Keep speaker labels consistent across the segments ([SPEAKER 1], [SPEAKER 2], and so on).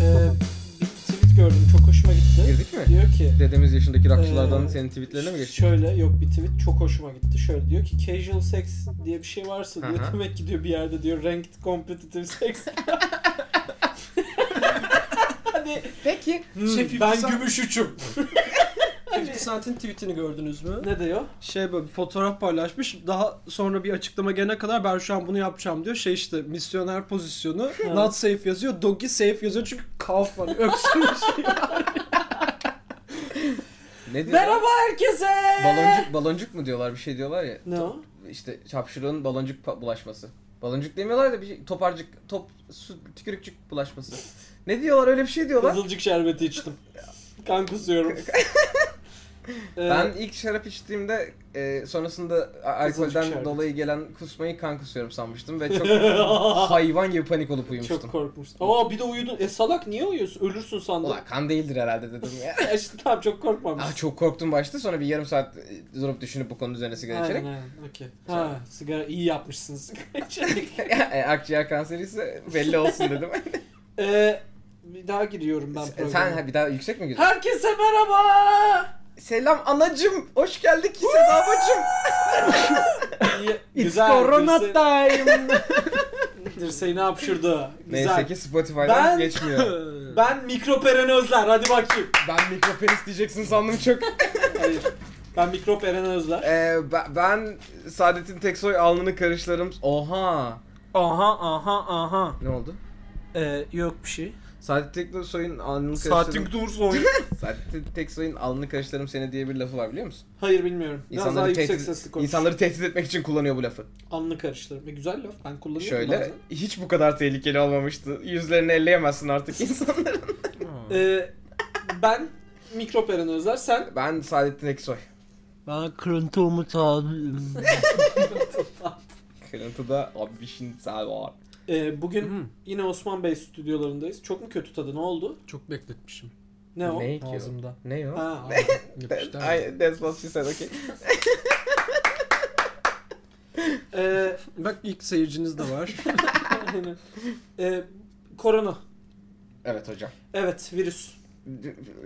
[SPEAKER 1] Ee, diyor ki
[SPEAKER 2] Dedemiz yaşındaki rockçılardan
[SPEAKER 1] Ee,
[SPEAKER 2] senin tweetlerine mi geçti?
[SPEAKER 1] Şöyle yok bir tweet çok hoşuma gitti. Şöyle diyor ki casual sex diye bir şey varsa diyor.
[SPEAKER 2] Aha.
[SPEAKER 1] Demek ki diyor bir yerde diyor ranked competitive sex. hani
[SPEAKER 3] Peki
[SPEAKER 1] hmm,
[SPEAKER 3] Şefik
[SPEAKER 1] ben
[SPEAKER 3] Hüsam-
[SPEAKER 1] gümüş üçüm.
[SPEAKER 3] 50 Cent'in tweetini gördünüz mü?
[SPEAKER 1] ne diyor?
[SPEAKER 3] Şey böyle bir fotoğraf paylaşmış. Daha sonra bir açıklama gelene kadar ben şu an bunu yapacağım diyor. Şey işte misyoner pozisyonu.
[SPEAKER 1] Ha.
[SPEAKER 3] Not safe yazıyor. Doggy safe yazıyor çünkü calf var. Öksürmüş.
[SPEAKER 2] Ne diyor?
[SPEAKER 1] Merhaba herkese.
[SPEAKER 2] Baloncuk, baloncuk mu diyorlar bir şey diyorlar ya.
[SPEAKER 1] Ne o?
[SPEAKER 2] İşte çapşırığın baloncuk pa- bulaşması. Baloncuk demiyorlar da bir şey, toparcık, top, su, tükürükçük bulaşması. Ne diyorlar öyle bir şey diyorlar.
[SPEAKER 1] Kızılcık şerbeti içtim. kan kusuyorum. Ee,
[SPEAKER 2] Ben ilk şarap içtiğimde e, sonrasında a- alkolden
[SPEAKER 1] şerbeti.
[SPEAKER 2] dolayı gelen kusmayı kan kusuyorum sanmıştım ve çok hayvan gibi panik olup uyumuştum.
[SPEAKER 1] çok korkmuştum. Aa bir de uyudun. E salak niye uyuyorsun? Ölürsün sandım.
[SPEAKER 2] Ulan kan değildir herhalde dedim ya.
[SPEAKER 1] Ya işte tamam çok korkmamış.
[SPEAKER 2] Ah çok korktum başta sonra bir yarım saat e, durup düşünüp bu konu üzerine sigara içerek.
[SPEAKER 1] Aynen, aynen. Okey. Ha, sigara iyi yapmışsınız sigara içerek.
[SPEAKER 2] E, Akciğer kanseri ise belli olsun dedim.
[SPEAKER 1] Ee, bir daha giriyorum ben programa.
[SPEAKER 2] Sen ha, bir daha yüksek mi girdin?
[SPEAKER 1] Herkese merhaba.
[SPEAKER 2] Selam anacım, hoş geldik Seda bacım.
[SPEAKER 1] İyi,
[SPEAKER 3] It's
[SPEAKER 1] güzel.
[SPEAKER 3] corona
[SPEAKER 1] Dirse,
[SPEAKER 3] time.
[SPEAKER 1] dirseğini hapşırdı. Güzel.
[SPEAKER 2] Neyse ki Spotify'dan
[SPEAKER 1] Ben-
[SPEAKER 2] geçmiyor.
[SPEAKER 1] Ben mikroperenozlar hadi bakayım.
[SPEAKER 2] ben mikropenis diyeceksin sandım çok.
[SPEAKER 1] Hayır. Ben mikroperenozlar.
[SPEAKER 2] Ee, ben, ben Saadet'in Teksoy alnını karışlarım. Oha.
[SPEAKER 1] Aha aha aha.
[SPEAKER 2] Ne oldu?
[SPEAKER 1] Ee, yok bir şey.
[SPEAKER 2] Saadet Teksoy'un alnını karışlarım.
[SPEAKER 3] Saatin dursun.
[SPEAKER 2] Saadet Teksoy'un alnını karışlarım seni diye bir lafı var biliyor musun?
[SPEAKER 1] Hayır bilmiyorum. Biraz daha
[SPEAKER 2] İnsanları
[SPEAKER 1] yüksek
[SPEAKER 2] tehdit,
[SPEAKER 1] sesli konuş.
[SPEAKER 2] insanları tehdit etmek için kullanıyor bu lafı.
[SPEAKER 1] Alnını karıştırma. Güzel laf. Ben kullanıyorum
[SPEAKER 2] Şöyle
[SPEAKER 1] bazen.
[SPEAKER 2] hiç bu kadar tehlikeli olmamıştı. Yüzlerini elleyemezsin artık insanların.
[SPEAKER 1] Ee, ben mikroperenozlar. Sen
[SPEAKER 2] ben Saadettin Eksoy.
[SPEAKER 3] Ben kırıntı umut abi.
[SPEAKER 2] Kırıntıda abişin sağ var.
[SPEAKER 1] Ee, bugün
[SPEAKER 3] Hmm.
[SPEAKER 1] yine Osman Bey stüdyolarındayız. Çok mu kötü tadı? Ne oldu?
[SPEAKER 3] Çok bekletmişim
[SPEAKER 1] Ne o?
[SPEAKER 2] Ne ki o?
[SPEAKER 3] ağzımda.
[SPEAKER 2] Ne o?
[SPEAKER 1] Ha,
[SPEAKER 2] That- I- that's what she said, okay.
[SPEAKER 1] ee,
[SPEAKER 3] Bak ilk seyirciniz de var.
[SPEAKER 1] aynen. Ee, korona.
[SPEAKER 2] Evet hocam.
[SPEAKER 1] Evet, virüs.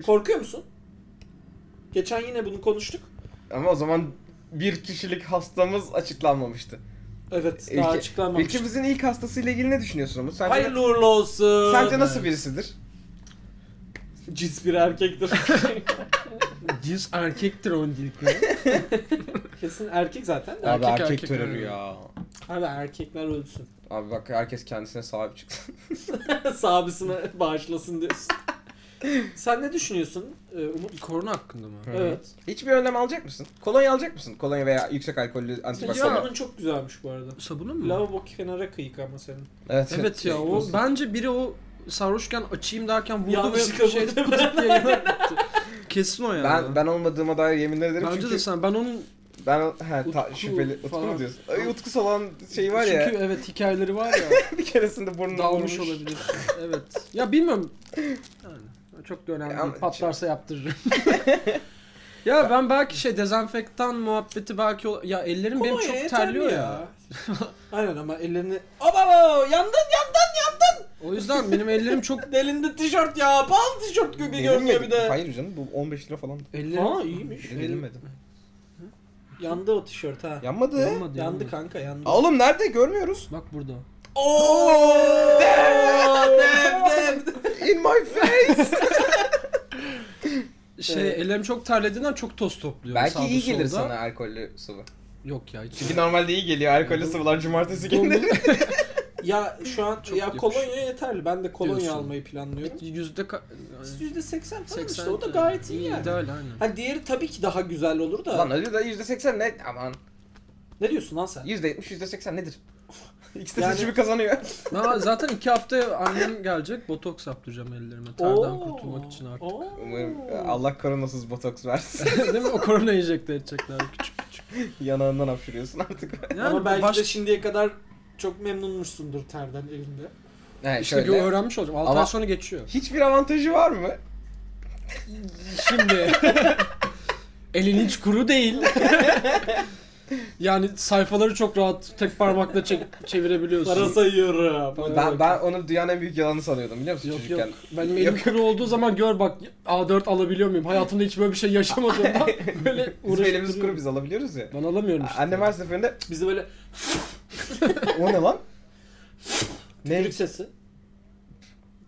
[SPEAKER 1] Korkuyor musun? Geçen yine bunu konuştuk.
[SPEAKER 2] Ama o zaman bir kişilik hastamız açıklanmamıştı.
[SPEAKER 1] Evet,
[SPEAKER 2] Ülke-
[SPEAKER 1] daha açıklanmamış.
[SPEAKER 2] Ülkemizin ilk hastasıyla ilgili ne düşünüyorsun Umut? Sence,
[SPEAKER 1] Hayırlı uğurlu olsun.
[SPEAKER 2] sence nasıl birisidir?
[SPEAKER 1] Cis bir erkektir.
[SPEAKER 3] Diz erkektir öncelikle.
[SPEAKER 1] Kesin erkek zaten. de.
[SPEAKER 3] Erkek,
[SPEAKER 2] Abi erkek,
[SPEAKER 3] erkek
[SPEAKER 2] terörü
[SPEAKER 3] terörü.
[SPEAKER 2] ya.
[SPEAKER 1] Abi erkekler ölsün.
[SPEAKER 2] Abi bak herkes kendisine sahip çıksın.
[SPEAKER 1] Sabısını bağışlasın diyorsun. Sen ne düşünüyorsun ee, Umut?
[SPEAKER 3] Korona hakkında mı?
[SPEAKER 1] Evet.
[SPEAKER 2] Hiçbir önlem alacak mısın? Kolonya alacak mısın? Kolonya veya yüksek alkollü
[SPEAKER 1] Senin
[SPEAKER 2] antibakteriyel.
[SPEAKER 1] sabunun çok güzelmiş bu arada.
[SPEAKER 3] Sabunun mu?
[SPEAKER 1] Lavabo kenara kıyık ama senin.
[SPEAKER 2] Evet,
[SPEAKER 3] Evet ya o bence biri o sarhoşken açayım derken vurdu ve
[SPEAKER 1] Yanlışlıkla
[SPEAKER 3] şeyde
[SPEAKER 1] vurdu.
[SPEAKER 3] pıtık diye yana gitti. Kesin o yani.
[SPEAKER 2] Ben ben olmadığıma dair yeminler ederim
[SPEAKER 3] Bence
[SPEAKER 2] Hani çünkü
[SPEAKER 3] de sen ben onun
[SPEAKER 2] ben he, ta-
[SPEAKER 3] Utku
[SPEAKER 2] şüpheli Utku mu
[SPEAKER 3] falan.
[SPEAKER 2] diyorsun? Ay, Utku salan şey var
[SPEAKER 3] çünkü
[SPEAKER 2] ya
[SPEAKER 3] evet hikayeleri var ya
[SPEAKER 2] bir keresinde burnunu
[SPEAKER 3] dalmış
[SPEAKER 2] vurmuş.
[SPEAKER 3] olabilir. Evet. Ya bilmiyorum. Yani, çok da önemli.
[SPEAKER 2] Ama-
[SPEAKER 3] değil. Patlarsa yaptırırım. ya ben belki şey dezenfektan muhabbeti belki ol- ya ellerim benim
[SPEAKER 1] Kolonya
[SPEAKER 3] çok
[SPEAKER 1] yeter mi
[SPEAKER 3] terliyor ya.
[SPEAKER 1] Aynen ama ellerini... Aba yandın yandın yandın.
[SPEAKER 3] O yüzden benim ellerim çok
[SPEAKER 1] Delindi tişört ya. Bal tişört gibi görünüyor bir de.
[SPEAKER 2] Hayır canım bu 15 lira falan.
[SPEAKER 3] ellerim
[SPEAKER 1] Aa iyiymiş.
[SPEAKER 3] Şey,
[SPEAKER 2] Biri delinmedi.
[SPEAKER 1] Yandı o tişört ha.
[SPEAKER 2] Yanmadı.
[SPEAKER 3] Yanmadı,
[SPEAKER 1] Yandı
[SPEAKER 3] yanmadı.
[SPEAKER 1] kanka yandı.
[SPEAKER 2] Aa, Oğlum nerede görmüyoruz?
[SPEAKER 3] Bak burada.
[SPEAKER 1] Oo! Dev dev dev.
[SPEAKER 2] In my face.
[SPEAKER 3] Şey
[SPEAKER 1] Evet.
[SPEAKER 3] ellerim çok terlediğinden çok toz topluyor.
[SPEAKER 2] Belki
[SPEAKER 3] sağda
[SPEAKER 2] iyi gelir
[SPEAKER 3] solda.
[SPEAKER 2] sana alkollü sıvı.
[SPEAKER 3] Yok ya hiç.
[SPEAKER 2] Çünkü normalde iyi geliyor alkollü sıvılar cumartesi günleri.
[SPEAKER 1] Ya şu an
[SPEAKER 3] Çok
[SPEAKER 1] ya
[SPEAKER 3] yakış.
[SPEAKER 1] kolonya yeterli. Ben de kolonya
[SPEAKER 3] Diyorsun.
[SPEAKER 1] almayı planlıyorum.
[SPEAKER 3] Yüzde ka-
[SPEAKER 1] %80 falan işte
[SPEAKER 3] 80
[SPEAKER 1] o da gayet iyi yani.
[SPEAKER 3] İdeal aynen.
[SPEAKER 1] Hani diğeri tabii ki daha güzel olur da.
[SPEAKER 2] Lan öyle de %80 ne? Aman.
[SPEAKER 1] Ne diyorsun lan sen?
[SPEAKER 2] %70 %80 nedir? İkisi de
[SPEAKER 1] Yani-
[SPEAKER 2] seçimi kazanıyor.
[SPEAKER 3] Ben zaten iki hafta annem gelecek botoks yaptıracağım ellerime terden
[SPEAKER 1] Oo.
[SPEAKER 3] kurtulmak için artık.
[SPEAKER 1] Oo.
[SPEAKER 2] Umarım e, Allah koronasız botoks versin.
[SPEAKER 3] Değil mi? O korona enjekte edecekler küçük küçük.
[SPEAKER 2] Yanağından hapşırıyorsun artık.
[SPEAKER 3] Yani
[SPEAKER 1] Ama belki
[SPEAKER 3] baş...
[SPEAKER 1] de şimdiye kadar çok memnunmuşsundur terden elinde.
[SPEAKER 2] He,
[SPEAKER 3] işte bir
[SPEAKER 2] şöyle.
[SPEAKER 3] öğrenmiş olacağım. 6
[SPEAKER 2] Ama-
[SPEAKER 3] ay sonra geçiyor.
[SPEAKER 2] Hiçbir avantajı var mı?
[SPEAKER 3] Şimdi elin hiç kuru değil. Yani sayfaları çok rahat tek parmakla çek- çevirebiliyorsun.
[SPEAKER 1] Para sayıyorum.
[SPEAKER 3] Para-
[SPEAKER 2] Ben, ben onu dünyanın en büyük yalanı sanıyordum biliyor musun
[SPEAKER 3] Yok yok.
[SPEAKER 2] çocukken?
[SPEAKER 3] Benim elim
[SPEAKER 2] Yok.
[SPEAKER 3] kuru olduğu zaman gör bak A4 alabiliyor muyum? Hayatımda hiç böyle bir şey yaşamadım da böyle
[SPEAKER 2] Bizim elimiz kuru
[SPEAKER 3] uğraşıyorum.
[SPEAKER 2] biz alabiliyoruz ya.
[SPEAKER 3] Ben alamıyorum işte.
[SPEAKER 2] Annem her seferinde
[SPEAKER 1] Biz de böyle
[SPEAKER 2] o ne lan? ne? Şey-
[SPEAKER 1] tükürük sesi.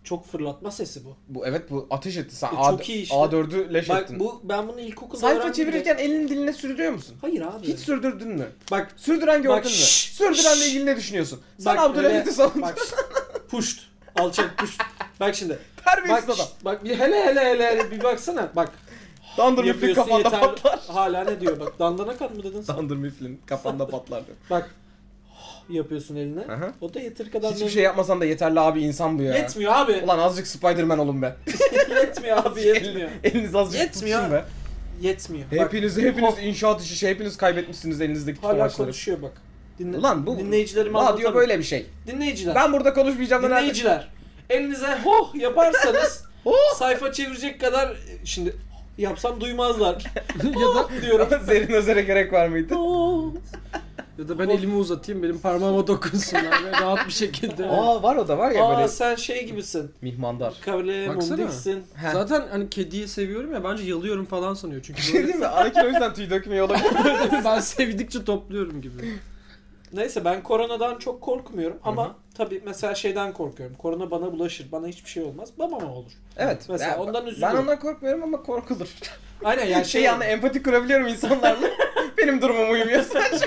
[SPEAKER 1] Çok fırlatma sesi bu.
[SPEAKER 2] Bu evet bu ateş etti. Sen
[SPEAKER 1] E,
[SPEAKER 2] A,
[SPEAKER 1] çok iyi işte.
[SPEAKER 2] A4'ü leş
[SPEAKER 1] Bak
[SPEAKER 2] ettin.
[SPEAKER 1] bu ben bunu ilkokulda
[SPEAKER 2] Şey Sayfa
[SPEAKER 1] öğrendim
[SPEAKER 2] çevirirken elini diline sürdürüyor musun?
[SPEAKER 1] de- Hayır abi.
[SPEAKER 2] Hiç sürdürdün mü?
[SPEAKER 1] Bak
[SPEAKER 2] Sürdüren gördün
[SPEAKER 1] Bak,
[SPEAKER 2] mü?
[SPEAKER 1] şşş,
[SPEAKER 2] Sürdürenle
[SPEAKER 1] şşş.
[SPEAKER 2] ilgili ne düşünüyorsun? Sen
[SPEAKER 1] Bak,
[SPEAKER 2] Abdülhamid'i
[SPEAKER 1] öyle-
[SPEAKER 2] savundun.
[SPEAKER 1] bak puşt. Alçak puşt. Bak şimdi.
[SPEAKER 2] Terbiyesiz
[SPEAKER 1] Bak,
[SPEAKER 2] adam.
[SPEAKER 1] bak bir hele hele hele hele bir baksana. Bak
[SPEAKER 2] Dandır müflin
[SPEAKER 1] yapıyorsun
[SPEAKER 2] kafanda
[SPEAKER 1] yeterli.
[SPEAKER 2] patlar.
[SPEAKER 1] Hala ne diyor bak. Dandana kat mı dedin sen?
[SPEAKER 2] Dandır müflin kafanda patlar. diyor.
[SPEAKER 1] Bak. Yapıyorsun eline.
[SPEAKER 2] Aha.
[SPEAKER 1] O da yeteri kadar
[SPEAKER 2] Hiçbir
[SPEAKER 1] memnun-
[SPEAKER 2] şey yapmasan da yeterli abi insan bu ya.
[SPEAKER 1] Yetmiyor abi.
[SPEAKER 2] Ulan azıcık Spider-Man olun be.
[SPEAKER 1] yetmiyor abi yetmiyor.
[SPEAKER 2] Eliniz azıcık
[SPEAKER 1] Yetmiyor.
[SPEAKER 2] tutsun be.
[SPEAKER 1] Yetmiyor. Bak,
[SPEAKER 2] Hepiniz hepiniz inşaat işi, şey, hepiniz kaybetmişsiniz elinizdeki
[SPEAKER 1] hala
[SPEAKER 2] tutamaçları.
[SPEAKER 1] konuşuyor bak. Dinle,
[SPEAKER 2] Ulan bu
[SPEAKER 1] dinleyicilerime
[SPEAKER 2] Aa diyor
[SPEAKER 1] anlatamıyorum.
[SPEAKER 2] böyle bir şey.
[SPEAKER 1] Dinleyiciler.
[SPEAKER 2] Ben burada konuşmayacağım da nerede?
[SPEAKER 1] dinleyiciler. Elinize hoh yaparsanız
[SPEAKER 2] Oh!
[SPEAKER 1] sayfa çevirecek kadar şimdi yapsam duymazlar.
[SPEAKER 3] ya da
[SPEAKER 1] diyorum.
[SPEAKER 2] Zerrin Özer'e gerek var mıydı?
[SPEAKER 1] Oh!
[SPEAKER 3] ya da ben elimi uzatayım benim parmağıma dokunsunlar ve rahat bir şekilde.
[SPEAKER 2] Aa var o da var ya
[SPEAKER 1] Aa
[SPEAKER 2] böyle
[SPEAKER 1] sen şey gibisin.
[SPEAKER 2] mihmandar.
[SPEAKER 1] Kavle
[SPEAKER 3] Baksana.
[SPEAKER 1] diksin.
[SPEAKER 2] He.
[SPEAKER 3] Zaten hani kediyi seviyorum ya bence yalıyorum falan sanıyor
[SPEAKER 2] Bir
[SPEAKER 3] çünkü
[SPEAKER 2] şey
[SPEAKER 3] böyle
[SPEAKER 2] diyeyim mi? Anakin o yüzden tüy dökmüyor olabilir.
[SPEAKER 3] ben sevdikçe topluyorum gibi.
[SPEAKER 1] Neyse ben koronadan çok korkmuyorum ama
[SPEAKER 2] Hı
[SPEAKER 1] tabii mesela şeyden korkuyorum. Korona bana bulaşır. Bana hiçbir şey olmaz. Babama olur.
[SPEAKER 2] Evet.
[SPEAKER 1] Mesela
[SPEAKER 2] Ya,
[SPEAKER 1] ondan
[SPEAKER 2] Ben
[SPEAKER 1] üzülüyorum.
[SPEAKER 2] ondan korkmuyorum ama korkulur.
[SPEAKER 1] Aynen ya
[SPEAKER 2] Yani
[SPEAKER 1] şey
[SPEAKER 2] şey yani empati kurabiliyorum insanlarla. Benim durumum uymuyor sadece.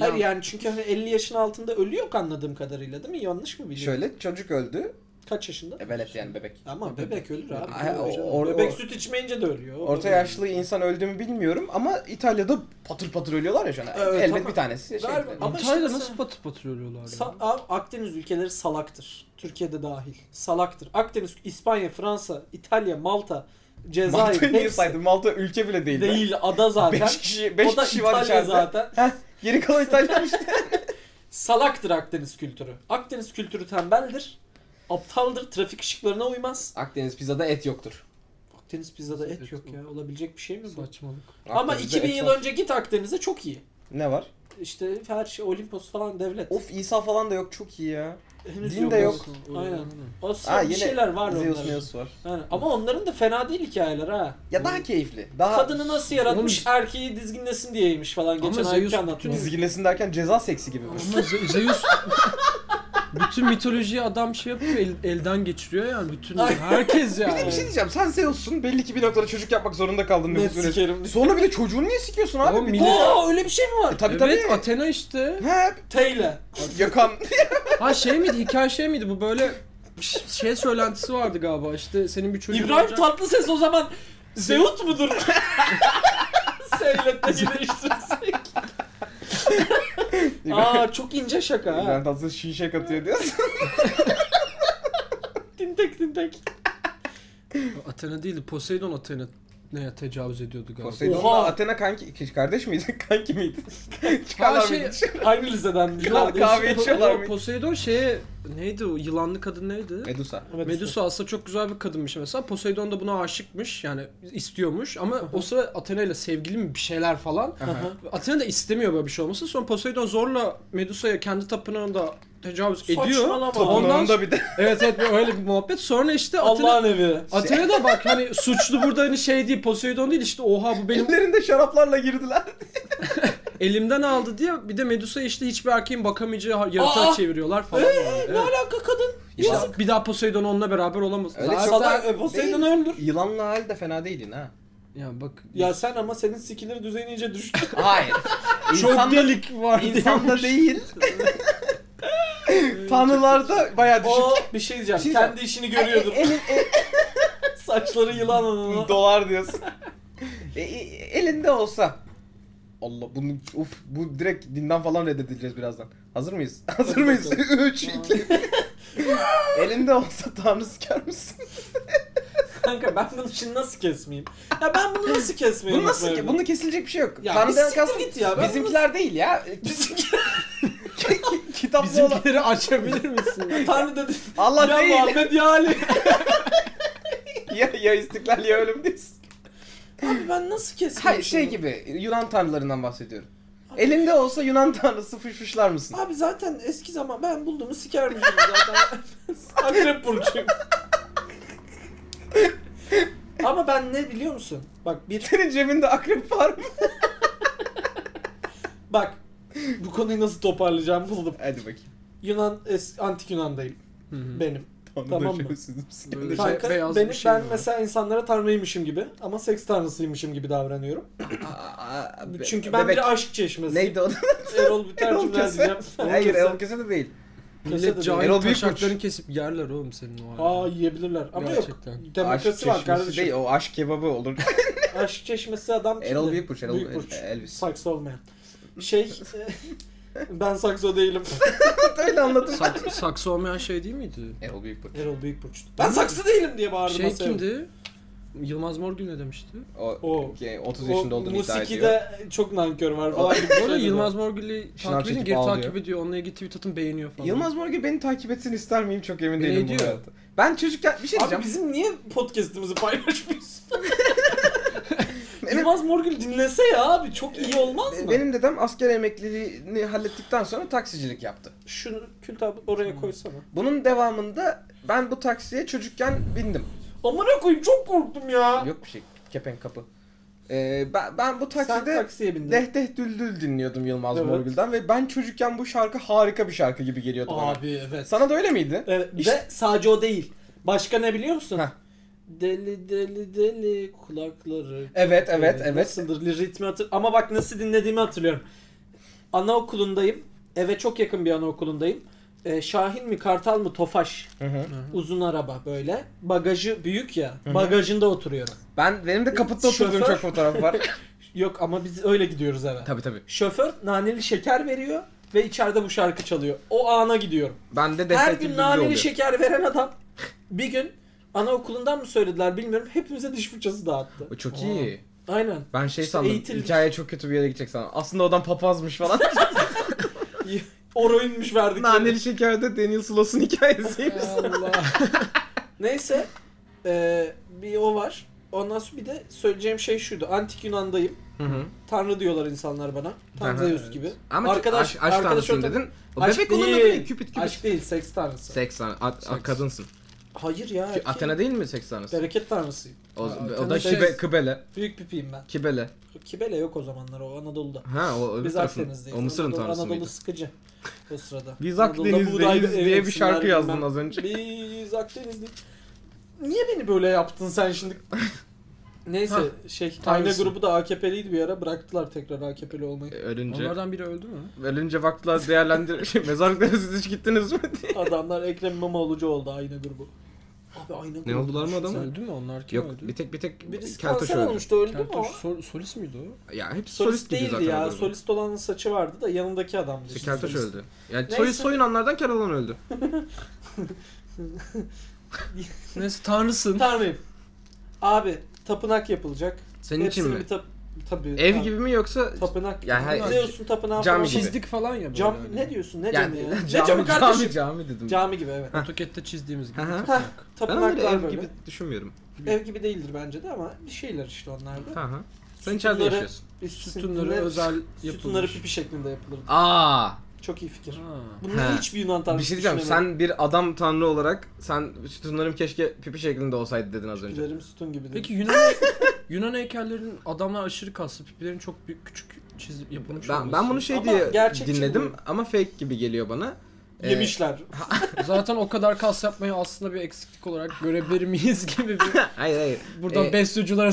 [SPEAKER 1] Hayır yani çünkü hani 50 yaşın altında ölü yok anladığım kadarıyla değil mi? Yanlış mı biliyorum?
[SPEAKER 2] Şöyle çocuk öldü.
[SPEAKER 1] Kaç yaşında?
[SPEAKER 2] E, velet yani bebek.
[SPEAKER 1] Ama bebek ölür abi.
[SPEAKER 2] Ay,
[SPEAKER 1] Ölür
[SPEAKER 2] o-
[SPEAKER 1] canım.
[SPEAKER 2] or-
[SPEAKER 1] bebek
[SPEAKER 2] or-
[SPEAKER 1] süt içmeyince de ölüyor. O-
[SPEAKER 2] Orta yaşlı insan öldü mü bilmiyorum ama İtalya'da patır patır ölüyorlar ya şu an.
[SPEAKER 1] Evet,
[SPEAKER 2] Elbet
[SPEAKER 1] ama-
[SPEAKER 2] bir tanesi. Şey,
[SPEAKER 1] Ver- ama işte
[SPEAKER 3] Antalya'da
[SPEAKER 1] mesela-
[SPEAKER 3] nasıl patır patır ölüyorlar ya?
[SPEAKER 1] Sa- Abi Akdeniz ülkeleri salaktır. Türkiye'de dahil. Salaktır. Akdeniz, İspanya, Fransa, İtalya, Malta, Cezayir
[SPEAKER 2] Malta'yı niye
[SPEAKER 1] hepsi
[SPEAKER 2] saydın? Malta ülke bile değil.
[SPEAKER 1] değil. Ada zaten.
[SPEAKER 2] 5 kişi, beş
[SPEAKER 1] o da
[SPEAKER 2] kişi
[SPEAKER 1] İtalya
[SPEAKER 2] var içeride.
[SPEAKER 1] zaten.
[SPEAKER 2] Geri kalan İtalya işte.
[SPEAKER 1] Salaktır Akdeniz kültürü. Akdeniz kültürü tembeldir. Aptaldır, trafik ışıklarına uymaz.
[SPEAKER 2] Akdeniz pizzada et yoktur.
[SPEAKER 1] Akdeniz pizzada et yok ya. Olabilecek bir şey mi bu?
[SPEAKER 3] Saçmalık.
[SPEAKER 1] Ama
[SPEAKER 2] Akdeniz'de
[SPEAKER 1] 2000
[SPEAKER 2] et
[SPEAKER 1] yıl
[SPEAKER 2] var.
[SPEAKER 1] önce git Akdeniz'e çok iyi.
[SPEAKER 2] Ne var?
[SPEAKER 1] İşte her şey Olimpos falan devlet.
[SPEAKER 2] Of İsa falan da yok çok iyi ya.
[SPEAKER 1] Henüz
[SPEAKER 2] din de yok.
[SPEAKER 1] Aynen.
[SPEAKER 2] Ha,
[SPEAKER 1] Asya bir
[SPEAKER 2] yine
[SPEAKER 1] şeyler var
[SPEAKER 2] Zeus
[SPEAKER 1] onların.
[SPEAKER 2] Meus var.
[SPEAKER 1] Yani, ama onların da fena değil hikayeler ha.
[SPEAKER 2] Ya daha keyifli. Daha
[SPEAKER 1] Kadını nasıl yaratmış erkeği dizginlesin diyeymiş falan geçen
[SPEAKER 3] Ama
[SPEAKER 1] ayki
[SPEAKER 3] Zeus
[SPEAKER 1] anlatıyor.
[SPEAKER 3] bütün-
[SPEAKER 2] Dizginlesin derken ceza seksi gibi bu.
[SPEAKER 3] Ama Ze- Zeus bütün mitolojiyi adam şey yapıyor el- elden geçiriyor yani bütün
[SPEAKER 1] Ay.
[SPEAKER 3] herkes
[SPEAKER 2] Bir de bir
[SPEAKER 3] yani.
[SPEAKER 2] şey diyeceğim. Sen Zeus'sun. Belli ki bir noktada çocuk yapmak zorunda kaldın.
[SPEAKER 1] Net
[SPEAKER 2] nüfus yönetimi.
[SPEAKER 1] sikerim.
[SPEAKER 2] Sonra bir de çocuğunu niye sikiyorsun abi?
[SPEAKER 3] Oğlum
[SPEAKER 2] Bir- E
[SPEAKER 3] millet-
[SPEAKER 1] Oo öyle bir şey mi var?
[SPEAKER 2] Tabii
[SPEAKER 3] evet
[SPEAKER 2] tabii.
[SPEAKER 3] Athena işte.
[SPEAKER 2] He,
[SPEAKER 1] Teyle.
[SPEAKER 2] yakan.
[SPEAKER 3] Ha şey miydi hikaye şey miydi bu böyle ş- şey söylentisi vardı galiba işte senin bir çocuğun
[SPEAKER 1] İbrahim
[SPEAKER 3] olacak.
[SPEAKER 1] Tatlıses o zaman Zeus mudur? Seyletle birleştirsek. Aa çok ince şaka ha.
[SPEAKER 2] Ben tatlı şişe katıyor diyorsun.
[SPEAKER 1] Dintek dintek.
[SPEAKER 3] Athena değildi Poseidon Athena neye tecavüz ediyordu galiba.
[SPEAKER 2] Poseidon'la
[SPEAKER 1] Oha.
[SPEAKER 2] Athena kanki, kardeş miydi? Kanki miydi?
[SPEAKER 3] Ha,
[SPEAKER 2] Çıkarlar
[SPEAKER 3] şey-
[SPEAKER 2] mıydı?
[SPEAKER 1] Aynı liseden.
[SPEAKER 2] Ya, kahve
[SPEAKER 3] Po-
[SPEAKER 2] içiyorlar
[SPEAKER 3] o
[SPEAKER 2] mı?
[SPEAKER 3] Poseidon şeye neydi o yılanlı kadın neydi?
[SPEAKER 2] Medusa.
[SPEAKER 3] Medusa aslında çok güzel bir kadınmış mesela. Poseidon da buna aşıkmış yani istiyormuş ama o sıra Athena ile sevgili mi bir şeyler falan.
[SPEAKER 1] Aha.
[SPEAKER 3] Athena da istemiyor böyle bir şey olmasın. Sonra Poseidon zorla Medusa'ya kendi tapınağında tecavüz ediyor.
[SPEAKER 1] Saçmalama.
[SPEAKER 3] Ondan
[SPEAKER 2] Ondan bir de.
[SPEAKER 3] evet evet böyle öyle bir muhabbet. Sonra işte Athena
[SPEAKER 1] Allah'ın evi.
[SPEAKER 3] Athena da bak hani suçlu burada hani şey değil Poseidon değil işte oha bu benim
[SPEAKER 2] Ellerinde şaraplarla girdiler.
[SPEAKER 3] elimden aldı diye bir de Medusa işte hiçbir erkeğin bakamayacağı yaratığa
[SPEAKER 1] Aa! Ee,
[SPEAKER 3] çeviriyorlar falan.
[SPEAKER 1] Ne
[SPEAKER 3] Evet.
[SPEAKER 1] alaka kadın?
[SPEAKER 3] İşte bir daha Poseidon onunla beraber olamaz.
[SPEAKER 2] Öyle
[SPEAKER 3] Zaten-
[SPEAKER 2] çok-
[SPEAKER 1] Salak e, Poseidon'u öldür.
[SPEAKER 2] Yılanla hal de fena değildin ha.
[SPEAKER 3] Ya bak
[SPEAKER 1] Ya sen ama senin sikilir düzeyin iyice düştü.
[SPEAKER 2] Hayır.
[SPEAKER 3] çok
[SPEAKER 2] İnsanda,
[SPEAKER 3] delik var
[SPEAKER 2] insanda değil. Tanrılarda bayağı düşük.
[SPEAKER 1] O bir şey diyeceğim.
[SPEAKER 2] şey
[SPEAKER 1] Kendi işini görüyordur.
[SPEAKER 2] E, elin- e,
[SPEAKER 1] Saçları yılan anana.
[SPEAKER 2] dolar diyorsun. E, e, elinde olsa. Allah bunu uf bu direkt dinden falan reddedileceğiz birazdan. Hazır mıyız? Hazır mıyız? 3 2 Elinde olsa tanrı siker misin?
[SPEAKER 1] Kanka ben bunu şimdi nasıl kesmeyeyim? Ya ben bunu nasıl kesmeyeyim?
[SPEAKER 2] Bunu nasıl
[SPEAKER 1] böyle?
[SPEAKER 2] ki? Bunda kesilecek bir şey yok.
[SPEAKER 1] Ya
[SPEAKER 2] Tanrı'dan
[SPEAKER 1] bir siktir
[SPEAKER 2] kastım
[SPEAKER 1] git ya, ben
[SPEAKER 2] Bizimkiler değil ya. Bizimkiler. Kitaplı olan.
[SPEAKER 3] Bizimkileri açabilir misin?
[SPEAKER 1] Tanrı dedi.
[SPEAKER 2] Allah
[SPEAKER 1] ya
[SPEAKER 2] değil.
[SPEAKER 1] Muhammed ya Ali.
[SPEAKER 2] ya, ya istiklal ya ölüm diyorsun.
[SPEAKER 1] Abi ben nasıl kesmeyeyim?
[SPEAKER 2] Hayır şey
[SPEAKER 1] şimdi?
[SPEAKER 2] gibi Yunan tanrılarından bahsediyorum.
[SPEAKER 1] Abi
[SPEAKER 2] Elinde olsa Yunan tanrısı fışfışlar mısın?
[SPEAKER 1] Abi zaten eski zaman ben bulduğumu sikermişim zaten. Akrep burcuyum. Ama ben ne biliyor musun? Bak bir
[SPEAKER 2] Senin cebinde akrep var mı?
[SPEAKER 1] bak bu konuyu nasıl toparlayacağım buldum.
[SPEAKER 2] Hadi bakayım.
[SPEAKER 1] Yunan es, antik Yunan'dayım
[SPEAKER 3] Hı hı.
[SPEAKER 1] benim.
[SPEAKER 2] Tamam,
[SPEAKER 1] Tamam
[SPEAKER 2] tamam
[SPEAKER 1] mı?
[SPEAKER 2] mı? Sizin
[SPEAKER 3] Böyle-
[SPEAKER 1] Kanka
[SPEAKER 3] beyaz bir
[SPEAKER 1] benim,
[SPEAKER 3] şey
[SPEAKER 1] ben
[SPEAKER 3] mi var?
[SPEAKER 1] mesela insanlara tanrıymışım gibi ama seks tanrısıymışım gibi davranıyorum. Çünkü ben bir aşk çeşmesi.
[SPEAKER 2] Neydi o?
[SPEAKER 1] Erol Büter
[SPEAKER 2] Erol
[SPEAKER 1] cümle
[SPEAKER 2] Köse.
[SPEAKER 1] diyeceğim.
[SPEAKER 2] Hayır Erol Köse de değil.
[SPEAKER 1] Kese de
[SPEAKER 3] Millet cahil
[SPEAKER 2] Erol Büyükburç.
[SPEAKER 3] taşaklarını kesip yerler oğlum senin o
[SPEAKER 1] Aa
[SPEAKER 3] halini.
[SPEAKER 1] yiyebilirler ama yok.
[SPEAKER 3] Gerçekten.
[SPEAKER 1] Demokrasi var
[SPEAKER 2] çeşmesi
[SPEAKER 1] kardeşim.
[SPEAKER 2] Değil, o aşk kebabı olur.
[SPEAKER 1] Aşk çeşmesi adam çıktı.
[SPEAKER 2] Erol Büyükburç, Erol
[SPEAKER 1] Büyükburç.
[SPEAKER 2] Elvis.
[SPEAKER 1] Saksı olmayan. Şey, e, ben sakso değilim.
[SPEAKER 2] Öyle anlatın.
[SPEAKER 3] Sak- saksı olmayan şey değil miydi?
[SPEAKER 2] Erol Büyükburç.
[SPEAKER 1] Erol Büyükburç'tu. Ben saksı değilim diye bağırdı
[SPEAKER 3] Şey
[SPEAKER 1] masaya.
[SPEAKER 3] kimdi? Yılmaz Morgül ne demişti?
[SPEAKER 2] O,
[SPEAKER 1] O-
[SPEAKER 2] ki 30 yaşında
[SPEAKER 1] O
[SPEAKER 2] olduğunu iddia ediyor.
[SPEAKER 1] musikide çok nankör var falan gibi.
[SPEAKER 3] Bu arada
[SPEAKER 1] söyledi.
[SPEAKER 3] Yılmaz Morgül'ü
[SPEAKER 2] Şınav
[SPEAKER 3] takip edin,
[SPEAKER 2] çekip
[SPEAKER 3] geri
[SPEAKER 2] ağlıyor.
[SPEAKER 3] takip ediyor. Onunla ilgili tweet atın beğeniyor falan.
[SPEAKER 2] Yılmaz Morgül beni takip etsin ister miyim çok emin
[SPEAKER 3] Ne
[SPEAKER 2] değilim bu
[SPEAKER 3] diyor?
[SPEAKER 2] hayatta. Ben çocukken bir şey
[SPEAKER 1] Abi
[SPEAKER 2] diyeceğim.
[SPEAKER 1] bizim niye podcast'imizi paylaşmıyorsun? Yılmaz Morgül dinlese ya abi çok iyi olmaz mı?
[SPEAKER 2] Benim dedem asker emekliliğini hallettikten sonra taksicilik yaptı.
[SPEAKER 1] Şunu kül abi
[SPEAKER 2] Hmm.
[SPEAKER 1] oraya koysana.
[SPEAKER 2] Bunun devamında ben bu taksiye çocukken bindim.
[SPEAKER 1] Amına koyayım çok korktum ya.
[SPEAKER 2] Yok bir şey kepenk kapı. Ee, ben, ben bu
[SPEAKER 1] Sen
[SPEAKER 2] takside
[SPEAKER 1] taksiye bindin.
[SPEAKER 2] Deh Deh Düldül dinliyordum Yılmaz
[SPEAKER 1] Evet.
[SPEAKER 2] Morgül'den ve ben çocukken bu şarkı harika bir şarkı gibi geliyordu bana.
[SPEAKER 1] Abi evet.
[SPEAKER 2] Sana da öyle miydi?
[SPEAKER 1] Evet,
[SPEAKER 2] İşte-
[SPEAKER 1] Ve sadece o değil. Başka ne biliyor musun?
[SPEAKER 2] Heh.
[SPEAKER 1] Deli deli deli kulakları.
[SPEAKER 2] Evet evet
[SPEAKER 1] Ee,
[SPEAKER 2] evet.
[SPEAKER 1] Nasıldır ritmi hatır. Ama bak nasıl dinlediğimi hatırlıyorum. Anaokulundayım. Eve çok yakın bir anaokulundayım. Ee, Şahin mi Kartal mı Tofaş.
[SPEAKER 2] Hı hı.
[SPEAKER 1] Uzun araba böyle. Bagajı büyük ya. Bagajında oturuyorum.
[SPEAKER 2] Ben benim de kaputta oturduğum
[SPEAKER 1] Şoför-
[SPEAKER 2] çok fotoğraf var.
[SPEAKER 1] Yok ama biz öyle gidiyoruz eve.
[SPEAKER 2] tabii tabii.
[SPEAKER 1] Şoför naneli şeker veriyor ve içeride bu şarkı çalıyor. O ana gidiyorum.
[SPEAKER 2] Ben de Deh
[SPEAKER 1] Her
[SPEAKER 2] Deh Düldül
[SPEAKER 1] gün naneli
[SPEAKER 2] oluyor.
[SPEAKER 1] şeker veren adam bir gün anaokulundan mı söylediler bilmiyorum. Hepimize diş fırçası dağıttı.
[SPEAKER 2] O çok iyi.
[SPEAKER 1] Aynen.
[SPEAKER 2] Ben şey
[SPEAKER 1] İşte
[SPEAKER 2] sandım.
[SPEAKER 1] eğitilmiş.
[SPEAKER 2] Hikaye çok kötü bir yere gidecek sandım. Aslında odan papazmış falan.
[SPEAKER 1] Oroinmiş verdikleri.
[SPEAKER 2] Naneli şekerde Daniel Sloss'un hikayesiymiş.
[SPEAKER 3] Allah.
[SPEAKER 1] Neyse. eee, bir o var. Ondan sonra bir de söyleyeceğim şey şuydu. Antik Yunan'dayım.
[SPEAKER 2] Hı hı.
[SPEAKER 1] Tanrı diyorlar insanlar bana. Tam
[SPEAKER 2] Aha,
[SPEAKER 1] Zeus
[SPEAKER 3] evet.
[SPEAKER 1] gibi.
[SPEAKER 2] Ama arkadaş, aşk, aşk tanrısın
[SPEAKER 1] ortam-
[SPEAKER 2] dedin. O
[SPEAKER 1] Aşk
[SPEAKER 2] bebek olan adı
[SPEAKER 1] değil.
[SPEAKER 2] ne? Cupid Cupid.
[SPEAKER 1] Aşk değil, seks tanrısı.
[SPEAKER 2] Seks tanrı. a- a-
[SPEAKER 3] Seks.
[SPEAKER 2] kadınsın.
[SPEAKER 1] Hayır ya.
[SPEAKER 2] Ki-
[SPEAKER 1] erkeğim.
[SPEAKER 2] Athena değil mi seks tanrısı?
[SPEAKER 1] Bereket tanrısıyım.
[SPEAKER 2] O,
[SPEAKER 3] Athena
[SPEAKER 2] o da
[SPEAKER 1] seks.
[SPEAKER 2] kibe, kıbele.
[SPEAKER 1] Büyük pipiyim ben.
[SPEAKER 2] Kibele.
[SPEAKER 1] Kibele yok o zamanlar o Anadolu'da.
[SPEAKER 2] Ha o öbür
[SPEAKER 1] Biz
[SPEAKER 2] tarafın.
[SPEAKER 1] Akdeniz'deyiz.
[SPEAKER 2] O Mısır'ın
[SPEAKER 1] Anadolu,
[SPEAKER 2] tanrısı
[SPEAKER 1] Anadolu
[SPEAKER 2] mıydı?
[SPEAKER 1] sıkıcı o sırada.
[SPEAKER 2] Biz
[SPEAKER 1] Anadolu'da
[SPEAKER 2] Akdeniz'deyiz
[SPEAKER 1] buğday
[SPEAKER 2] diye bir
[SPEAKER 1] eksinler
[SPEAKER 2] şarkı yazdın
[SPEAKER 1] bilmem.
[SPEAKER 2] az önce.
[SPEAKER 1] Biz Akdeniz'deyiz. Niye beni böyle yaptın sen şimdi? Neyse şey Tayna
[SPEAKER 3] tanrısın.
[SPEAKER 1] grubu da AKP'liydi bir ara bıraktılar tekrar AKP'li olmayı.
[SPEAKER 2] E, Ölünce.
[SPEAKER 3] Onlardan biri öldü mü?
[SPEAKER 2] Ölünce baktılar değerlendir. Şey, mezarlıklara siz hiç gittiniz mi? diye.
[SPEAKER 1] Adamlar Ekrem İmamoğlu'cu oldu Ayna grubu. Abi Ayna grubu.
[SPEAKER 2] oldular mı adama?
[SPEAKER 1] Sen-
[SPEAKER 3] Öldü mü? Onlar kim
[SPEAKER 2] Yok
[SPEAKER 3] öldü?
[SPEAKER 2] bir tek bir tek
[SPEAKER 1] Birisi
[SPEAKER 2] Keltoş
[SPEAKER 1] kanser
[SPEAKER 2] öldü.
[SPEAKER 1] olmuştu öldü mü o?
[SPEAKER 3] Keltoş sol, solist miydi o?
[SPEAKER 2] Ya hep
[SPEAKER 1] Solist,
[SPEAKER 2] solist, gibi
[SPEAKER 1] değildi
[SPEAKER 2] zaten.
[SPEAKER 1] ya.
[SPEAKER 2] o grubu.
[SPEAKER 1] Solist olanın saçı vardı da yanındaki adamdı.
[SPEAKER 2] İşte
[SPEAKER 1] işte
[SPEAKER 2] Keltoş
[SPEAKER 1] solist.
[SPEAKER 2] öldü. Yani
[SPEAKER 1] Neyse.
[SPEAKER 2] solist soyunanlardan Keralan öldü.
[SPEAKER 3] Neyse tanrısın.
[SPEAKER 1] Tanrıyım. Abi tapınak yapılacak.
[SPEAKER 2] Senin için
[SPEAKER 1] Hepsini
[SPEAKER 2] mi?
[SPEAKER 1] bir tap- tabii.
[SPEAKER 2] Ev
[SPEAKER 1] tabii.
[SPEAKER 2] gibi mi yoksa
[SPEAKER 1] Tapınak.
[SPEAKER 2] Ya her-
[SPEAKER 1] Zeus'un tapınağı
[SPEAKER 2] Cami
[SPEAKER 1] falan.
[SPEAKER 2] gibi.
[SPEAKER 1] Çizdi-
[SPEAKER 3] Çizdik falan ya böyle.
[SPEAKER 1] Cam
[SPEAKER 3] hani.
[SPEAKER 1] ne diyorsun? Ne cami
[SPEAKER 2] yani
[SPEAKER 1] ya? Ne
[SPEAKER 2] cami,
[SPEAKER 1] camı kardeşim?
[SPEAKER 2] cami,
[SPEAKER 1] Cami,
[SPEAKER 2] cami dedim.
[SPEAKER 1] gibi evet.
[SPEAKER 3] AutoCAD'de çizdiğimiz gibi.
[SPEAKER 2] Hı hı.
[SPEAKER 1] Heh,
[SPEAKER 3] tapınak.
[SPEAKER 2] ben öyle
[SPEAKER 1] tapınaklar
[SPEAKER 2] ev
[SPEAKER 1] böyle.
[SPEAKER 2] gibi düşünmüyorum.
[SPEAKER 1] Ev gibi değildir bence de ama bir şeyler işte onlar da.
[SPEAKER 2] Hı hı. Sen içeride
[SPEAKER 1] Sütunları-
[SPEAKER 2] yaşıyorsun.
[SPEAKER 1] Biz
[SPEAKER 3] Sütunları özel
[SPEAKER 1] Sütunları
[SPEAKER 3] yapılmış.
[SPEAKER 1] pipi şeklinde yapılır.
[SPEAKER 2] Aa,
[SPEAKER 1] Çok iyi fikir.
[SPEAKER 3] Ha.
[SPEAKER 1] Bunu
[SPEAKER 2] Ha.
[SPEAKER 1] hiçbir Yunan tanrısı
[SPEAKER 2] bir şey diyeceğim.
[SPEAKER 1] düşünemedi.
[SPEAKER 2] Sen bir adam tanrı olarak sen sütunlarım keşke pipi şeklinde olsaydı dedin az önce.
[SPEAKER 1] Pipilerim sütun gibi
[SPEAKER 3] Peki Yunan Yunan heykellerinin adamlar aşırı kaslı, pipilerin çok büyük küçük çizip yapılmış
[SPEAKER 2] Ben, ben
[SPEAKER 3] olması.
[SPEAKER 2] bunu şey
[SPEAKER 1] Ama
[SPEAKER 2] diye
[SPEAKER 1] gerçekçi
[SPEAKER 2] dinledim
[SPEAKER 1] buluyorum.
[SPEAKER 2] ama fake gibi geliyor bana. Ee,
[SPEAKER 1] Yemişler.
[SPEAKER 3] Zaten o kadar kas yapmayı aslında bir eksiklik olarak görebilir miyiz gibi bir...
[SPEAKER 2] hayır hayır.
[SPEAKER 3] Buradan
[SPEAKER 2] Ee,
[SPEAKER 3] besyoculara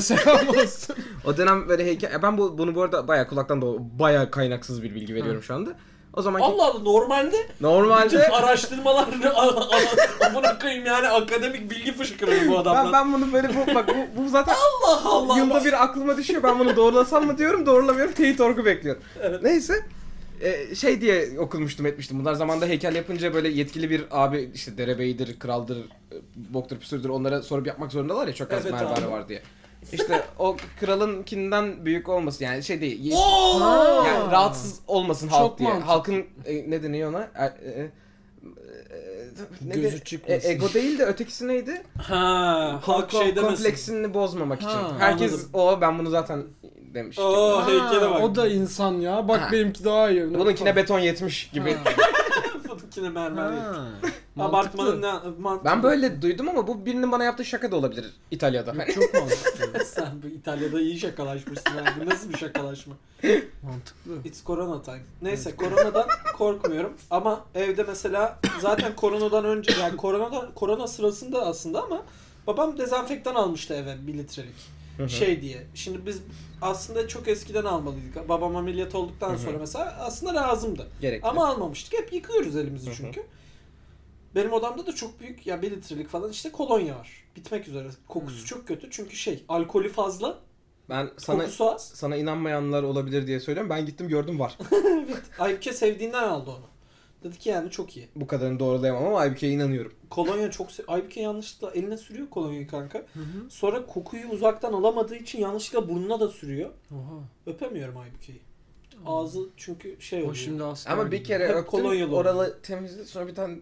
[SPEAKER 3] selam olsun.
[SPEAKER 2] O dönem böyle heykel... Ya Ben bu, bunu bu arada bayağı kulaktan da bayağı kaynaksız bir bilgi veriyorum şu anda. O zamanki
[SPEAKER 1] Allah Allah normalde bütün
[SPEAKER 2] normalde
[SPEAKER 1] araştırmalarını amına koyayım yani akademik bilgi fışkırıyor bu adamdan.
[SPEAKER 2] ben, ben bunu böyle bu, bak bu, bu zaten
[SPEAKER 1] Allah Allah.
[SPEAKER 2] yılda bir aklıma düşüyor. Ben bunu doğrulasam mı diyorum, doğrulamıyorum. Teyit orgu bekliyorum.
[SPEAKER 1] Evet.
[SPEAKER 2] Neyse. e, şey diye okumuştum etmiştim. Bunlar zamanda heykel yapınca böyle yetkili bir abi işte derebeyidir, kraldır, e, boktur, püsürdür onlara sorup yapmak zorundalar ya çok az
[SPEAKER 1] Evet
[SPEAKER 2] merhaba
[SPEAKER 1] abi.
[SPEAKER 2] var diye. İşte o kralınkinden büyük olmasın yani şey değil. ye-
[SPEAKER 1] Oo!
[SPEAKER 3] Ha.
[SPEAKER 2] Yani rahatsız olmasın halk
[SPEAKER 3] Çok
[SPEAKER 2] diye.
[SPEAKER 3] mantıklı.
[SPEAKER 2] Halkın e, ne deniyor ona? E, e, e, ne
[SPEAKER 3] Gözü
[SPEAKER 2] de-
[SPEAKER 3] çıkmasın.
[SPEAKER 2] e, ego değil de ötekisi neydi?
[SPEAKER 1] Ha, halk
[SPEAKER 2] Ko-
[SPEAKER 1] şey demesin.
[SPEAKER 2] Kompleksini bozmamak için.
[SPEAKER 3] Ha,
[SPEAKER 2] Herkes
[SPEAKER 1] anladım.
[SPEAKER 2] o ben bunu zaten demiş.
[SPEAKER 1] Oo
[SPEAKER 3] Ha,
[SPEAKER 1] heykele bak.
[SPEAKER 3] O da insan ya. Bak
[SPEAKER 2] Ha.
[SPEAKER 3] benimki daha iyi.
[SPEAKER 2] Bununkine beton yetmiş gibi.
[SPEAKER 1] Fıtkine mermer. değil.
[SPEAKER 3] Ha.
[SPEAKER 1] Abartmanın ne mantıklı.
[SPEAKER 2] Ben böyle duydum ama bu birinin bana yaptığı şaka da olabilir İtalya'da. Hani
[SPEAKER 3] Çok mantıklı.
[SPEAKER 1] Sen bu İtalya'da iyi şakalaşmışsın abi. Bu Nasıl bir şakalaşma?
[SPEAKER 3] mantıklı.
[SPEAKER 1] It's corona time. Neyse koronadan korkmuyorum ama evde mesela zaten koronadan önce yani koronadan korona sırasında aslında ama babam dezenfektan almıştı eve 1 litrelik. şey diye. Şimdi biz aslında çok eskiden almalıydık. Babam ameliyat olduktan
[SPEAKER 2] Hı hı.
[SPEAKER 1] sonra mesela aslında lazımdı.
[SPEAKER 2] gerekli.
[SPEAKER 1] Ama almamıştık. Hep yıkıyoruz elimizi
[SPEAKER 2] Hı hı.
[SPEAKER 1] çünkü. Benim odamda da çok büyük ya 1 litrelik falan işte kolonya var. Bitmek üzere. Kokusu
[SPEAKER 3] Hı.
[SPEAKER 1] çok kötü çünkü şey alkolü fazla,
[SPEAKER 2] ben sana
[SPEAKER 1] kokusu az.
[SPEAKER 2] sana inanmayanlar olabilir diye söylüyorum. Ben gittim gördüm var.
[SPEAKER 1] Aybike sevdiğinden aldı onu. Dedi ki yani çok iyi.
[SPEAKER 2] Bu kadarını doğrulayamam ama Aybüke'ye inanıyorum.
[SPEAKER 1] Kolonya çok se- Aybike yanlışlıkla eline sürüyor kolonyayı kanka.
[SPEAKER 3] Hı hı.
[SPEAKER 1] Sonra kokuyu uzaktan alamadığı için yanlışlıkla burnuna da sürüyor.
[SPEAKER 3] Oha.
[SPEAKER 1] Öpemiyorum Aybike'yi. Ağzı çünkü şey oluyor.
[SPEAKER 3] O şimdi asker.
[SPEAKER 2] Ama bir
[SPEAKER 3] gibi.
[SPEAKER 2] kere
[SPEAKER 1] Hep
[SPEAKER 2] öptüm,
[SPEAKER 1] kolonyalı
[SPEAKER 2] oralı temizledi sonra bir tane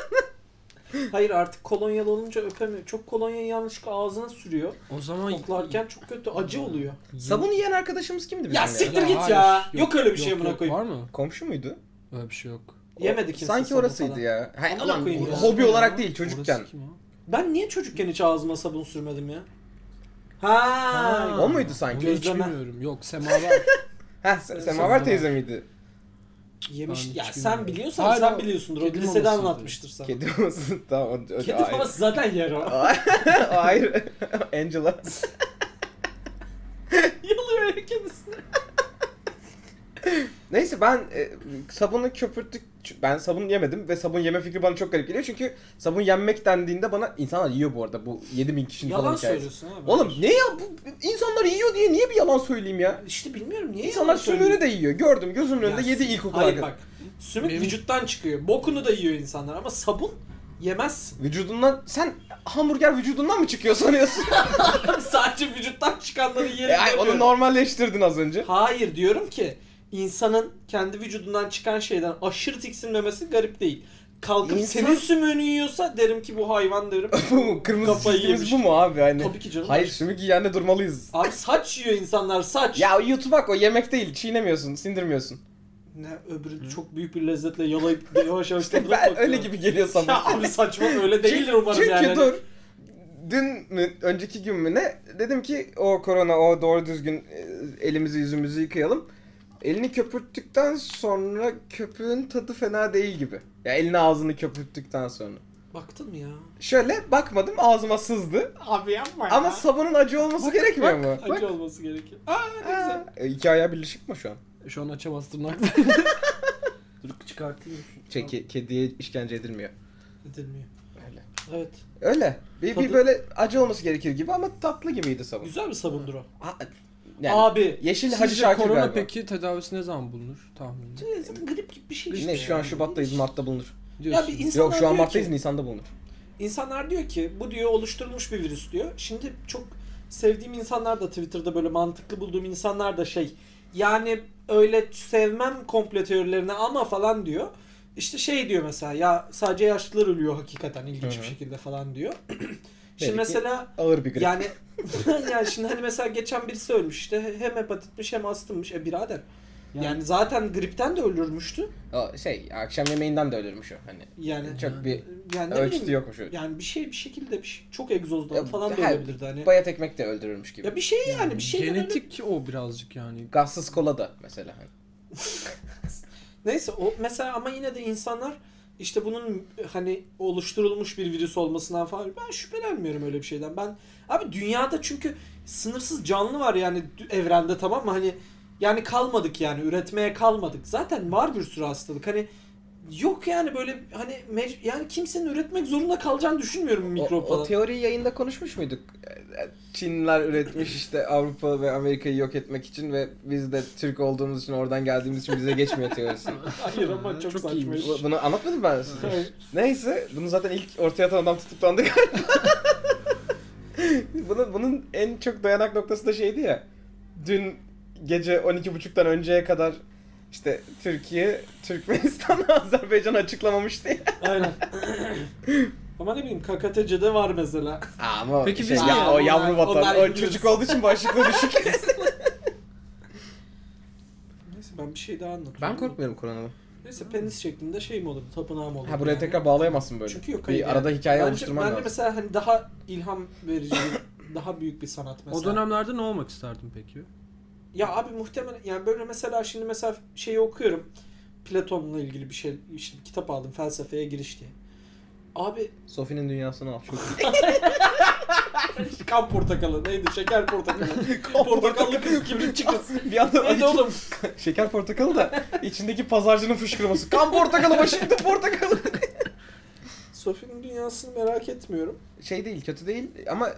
[SPEAKER 1] Hayır artık kolonyalı olunca öpemiyor. Çok kolonyayı yanlışlıkla ağzına sürüyor.
[SPEAKER 3] o zaman
[SPEAKER 1] Koklarken çok kötü acı
[SPEAKER 3] Hmm.
[SPEAKER 1] oluyor.
[SPEAKER 3] Yeni-
[SPEAKER 2] sabun yiyen arkadaşımız kimdi bizim
[SPEAKER 1] Ya
[SPEAKER 2] ya?
[SPEAKER 1] siktir git ya. Yok, öyle bir şey
[SPEAKER 3] yok,
[SPEAKER 1] amına
[SPEAKER 3] yok.
[SPEAKER 1] koyayım.
[SPEAKER 3] Var mı?
[SPEAKER 2] Komşu muydu?
[SPEAKER 3] Öyle bir şey yok.
[SPEAKER 1] Yemedi kimse
[SPEAKER 2] Sanki
[SPEAKER 1] sabun
[SPEAKER 2] orasıydı
[SPEAKER 1] falan.
[SPEAKER 2] ya. Ha,
[SPEAKER 1] Amına
[SPEAKER 2] ulan,
[SPEAKER 1] koyayım ya.
[SPEAKER 2] hobi
[SPEAKER 3] Ya,
[SPEAKER 2] olarak değil çocukken.
[SPEAKER 3] orası kim ya?
[SPEAKER 1] Ben niye çocukken hiç ağzıma sabun sürmedim ya? Ha.
[SPEAKER 3] Ha,
[SPEAKER 2] O muydu sanki?
[SPEAKER 3] Onu hiç
[SPEAKER 1] Gözleme.
[SPEAKER 3] bilmiyorum. Yok semaver.
[SPEAKER 2] Ha Se- Semaver teyze miydi?
[SPEAKER 1] Yemiş.
[SPEAKER 3] Ben hiç
[SPEAKER 1] ya sen
[SPEAKER 3] bilmiyorum.
[SPEAKER 1] biliyorsan
[SPEAKER 3] Hayır,
[SPEAKER 1] sen
[SPEAKER 3] o
[SPEAKER 1] biliyorsundur. O
[SPEAKER 3] kedi
[SPEAKER 1] lisede
[SPEAKER 3] mamasıydı.
[SPEAKER 1] anlatmıştır sana. Kedi,
[SPEAKER 2] Kedi olmasın tamam. o- o- hayır.
[SPEAKER 1] maması zaten yer o.
[SPEAKER 2] Hayır. Angela.
[SPEAKER 1] Yalıyor öyle kendisine.
[SPEAKER 2] Neyse ben e, sabunu köpürttük. Ç- Ben sabun yemedim ve sabun yeme fikri bana çok garip geliyor. Çünkü sabun yenmek dendiğinde bana insanlar yiyor bu arada bu 7000 kişinin
[SPEAKER 1] Yalan
[SPEAKER 2] falan hikayesi.
[SPEAKER 1] söylüyorsun abi.
[SPEAKER 2] Oğlum ne ya bu insanlar yiyor diye niye bir yalan söyleyeyim ya?
[SPEAKER 1] İşte bilmiyorum niye
[SPEAKER 2] İnsanlar
[SPEAKER 1] yalan söylüyor?
[SPEAKER 2] sümüğünü de yiyor. Gördüm gözümün önünde
[SPEAKER 1] Ya
[SPEAKER 2] yedi
[SPEAKER 1] sü-
[SPEAKER 2] ilkokul
[SPEAKER 1] Hayır
[SPEAKER 2] arkadaşı.
[SPEAKER 1] bak. Sümük
[SPEAKER 3] Benim-
[SPEAKER 1] vücuttan çıkıyor. Bokunu da yiyor insanlar ama sabun yemezsin.
[SPEAKER 2] Vücudundan sen hamburger vücudundan mı çıkıyor sanıyorsun?
[SPEAKER 1] Sadece vücuttan çıkanları yiyelim
[SPEAKER 2] e, ay, onu
[SPEAKER 1] demiyorum.
[SPEAKER 2] normalleştirdin az önce.
[SPEAKER 1] Hayır diyorum ki insanın kendi vücudundan çıkan şeyden aşırı tiksinmemesi garip değil. Kalkıp
[SPEAKER 2] İnsan-
[SPEAKER 1] senin sümüğünü yiyorsa derim ki bu hayvan derim.
[SPEAKER 2] bu mu? Kırmızı
[SPEAKER 1] Kafayı
[SPEAKER 2] çizgimiz
[SPEAKER 1] yemiş.
[SPEAKER 2] bu mu abi? Hani...
[SPEAKER 1] Tabii ki canım.
[SPEAKER 2] Hayır sümük yiyenle durmalıyız.
[SPEAKER 1] Abi saç yiyor insanlar saç.
[SPEAKER 2] Ya yutmak o yemek değil. Çiğnemiyorsun, sindirmiyorsun.
[SPEAKER 1] Ne öbürü çok büyük bir lezzetle yalayıp yavaş yavaş
[SPEAKER 2] İşte
[SPEAKER 1] tadına
[SPEAKER 2] ben
[SPEAKER 1] bakıyor.
[SPEAKER 2] öyle gibi geliyor sabun.
[SPEAKER 1] Ya abi saçma öyle değildir umarım
[SPEAKER 2] Çünkü
[SPEAKER 1] yani.
[SPEAKER 2] dur. Dün mü, önceki gün mü ne? Dedim ki o korona, o doğru düzgün e, elimizi yüzümüzü yıkayalım. Elini köpürttükten sonra köpüğün tadı fena değil gibi. Ya elini ağzını köpürttükten sonra.
[SPEAKER 1] Baktın mı ya?
[SPEAKER 2] Şöyle bakmadım ağzıma sızdı.
[SPEAKER 1] Abi yapma
[SPEAKER 2] Ama sabunun acı olması gerekmiyor mu?
[SPEAKER 1] Acı olması gerekiyor. Aa ne güzel.
[SPEAKER 2] Aa, e, iki ayağı birleşik mi şu an?
[SPEAKER 3] Şu an açamaz tırnakla.
[SPEAKER 1] Dur çıkartayım.
[SPEAKER 2] Şey, ke- kediye işkence edilmiyor.
[SPEAKER 1] Edilmiyor.
[SPEAKER 2] Öyle.
[SPEAKER 1] Evet.
[SPEAKER 2] Öyle. Bir, bir
[SPEAKER 1] Tadı-
[SPEAKER 2] böyle acı olması gerekir gibi ama tatlı gibiydi sabun.
[SPEAKER 1] Güzel bir sabundur o.
[SPEAKER 2] Ha, yani
[SPEAKER 1] Abi.
[SPEAKER 2] yeşil Hacı
[SPEAKER 3] Sizce
[SPEAKER 2] Şakir
[SPEAKER 3] korona
[SPEAKER 2] galiba.
[SPEAKER 3] peki tedavisi ne zaman bulunur tahminen?
[SPEAKER 1] Zaten grip gibi bir şey işte.
[SPEAKER 2] Ne şu an
[SPEAKER 1] yani.
[SPEAKER 2] Şubat'tayız, Mart'ta bulunur.
[SPEAKER 1] Ya
[SPEAKER 3] Diyorsun.
[SPEAKER 1] bir insanlar
[SPEAKER 2] Yok şu an
[SPEAKER 1] diyor
[SPEAKER 2] Mart'tayız,
[SPEAKER 1] ki,
[SPEAKER 2] Nisan'da bulunur.
[SPEAKER 1] insanlar diyor ki bu diyor oluşturulmuş bir virüs diyor. Şimdi çok sevdiğim insanlar da Twitter'da böyle mantıklı bulduğum insanlar da şey yani öyle sevmem komplo teorilerini ama falan diyor. İşte şey diyor mesela ya sadece yaşlılar ölüyor hakikaten ilginç
[SPEAKER 2] Hı hı.
[SPEAKER 1] bir şekilde falan diyor.
[SPEAKER 2] Belli
[SPEAKER 1] Şimdi
[SPEAKER 2] ki
[SPEAKER 1] mesela
[SPEAKER 2] Ağır bir grip.
[SPEAKER 1] Yani yani şimdi hani mesela geçen birisi ölmüş işte hem hepatitmiş hem astımmış. E birader. Yani, zaten gripten de ölürmüştü.
[SPEAKER 2] O şey akşam yemeğinden de ölürmüş o hani.
[SPEAKER 1] Yani
[SPEAKER 2] Çok bir
[SPEAKER 1] yani ne
[SPEAKER 2] ölçütü
[SPEAKER 1] bileyim,
[SPEAKER 2] yokmuş. o.
[SPEAKER 1] Yani bir şey bir şekilde bir şey, çok egzozdan
[SPEAKER 2] Ya,
[SPEAKER 1] falan da
[SPEAKER 2] her-
[SPEAKER 1] ölebilirdi hani.
[SPEAKER 2] Bayat ekmek de öldürürmüş gibi.
[SPEAKER 1] Ya bir şey yani bir şey
[SPEAKER 3] Genetik o birazcık yani.
[SPEAKER 2] Gazsız kola da mesela hani.
[SPEAKER 1] Neyse o mesela ama yine de insanlar işte bunun hani oluşturulmuş bir virüs olmasından falan ben şüphelenmiyorum öyle bir şeyden. Ben abi dünyada çünkü sınırsız canlı var yani dü- evrende tamam mı? Hani yani kalmadık yani üretmeye kalmadık. Zaten var bir sürü hastalık. Hani yok yani böyle hani mec- yani kimsenin üretmek zorunda kalacağını düşünmüyorum
[SPEAKER 2] O,
[SPEAKER 1] mikrop
[SPEAKER 2] o
[SPEAKER 1] falan.
[SPEAKER 2] teoriyi yayında konuşmuş muyduk? E, e, Çinliler üretmiş işte Avrupa ve Amerika'yı yok etmek için ve biz de Türk olduğumuz için oradan geldiğimiz için bize geçmiyor teorisi.
[SPEAKER 1] Hayır ama çok,
[SPEAKER 3] Çok
[SPEAKER 1] saçma.
[SPEAKER 3] iyiymiş.
[SPEAKER 2] Bu- Bunu anlatmadım ben size.
[SPEAKER 1] Hayır.
[SPEAKER 2] Neyse, bunu zaten ilk ortaya atan adam tutuklandı bunun, bunun en çok dayanak noktası da şeydi ya. Dün gece 12.30'dan önceye kadar işte Türkiye, Türkmenistan, Azerbaycan açıklamamıştı ya.
[SPEAKER 1] Aynen. Ama ne bileyim KKTC'de var mesela.
[SPEAKER 2] Ama
[SPEAKER 3] Peki
[SPEAKER 2] şey,
[SPEAKER 3] biz
[SPEAKER 2] ya,
[SPEAKER 3] niye-
[SPEAKER 2] o yavru
[SPEAKER 1] Onlar-
[SPEAKER 2] vatan.
[SPEAKER 1] onlar
[SPEAKER 2] o
[SPEAKER 1] İngiliz.
[SPEAKER 2] çocuk olduğu için başlıkla düşük.
[SPEAKER 1] Neyse ben bir şey daha anlatıyorum.
[SPEAKER 2] ben korkmuyorum Kur'an'dan.
[SPEAKER 1] Neyse penis şeklinde şey mi olurdu? Tapınağı mı olurdu?
[SPEAKER 2] Ha buraya
[SPEAKER 1] yani?
[SPEAKER 2] tekrar bağlayamazsın böyle.
[SPEAKER 1] Çünkü yok
[SPEAKER 2] bir
[SPEAKER 1] hayır yani.
[SPEAKER 2] arada hikaye
[SPEAKER 1] Bence-
[SPEAKER 2] oluşturman
[SPEAKER 1] ben de
[SPEAKER 2] lazım.
[SPEAKER 1] mesela hani daha ilham verici, daha büyük bir sanat mesela.
[SPEAKER 3] O dönemlerde ne olmak isterdin peki?
[SPEAKER 1] Ya abi muhtemelen yani böyle mesela şimdi mesela şeyi okuyorum. Platon'la ilgili bir şey işte bir kitap aldım felsefeye giriş diye. Abi
[SPEAKER 2] Sophie'nin dünyasını al. Çok
[SPEAKER 1] kan portakalı neydi? Şeker portakalı. Portakallı kız kibritçi kız.
[SPEAKER 2] bir anda
[SPEAKER 1] Hadi oğlum.
[SPEAKER 2] Şeker portakalı da içindeki pazarcının fışkırması. Kan portakalı başında portakalı.
[SPEAKER 1] Sophie'nin dünyasını merak etmiyorum.
[SPEAKER 2] Şey değil kötü değil ama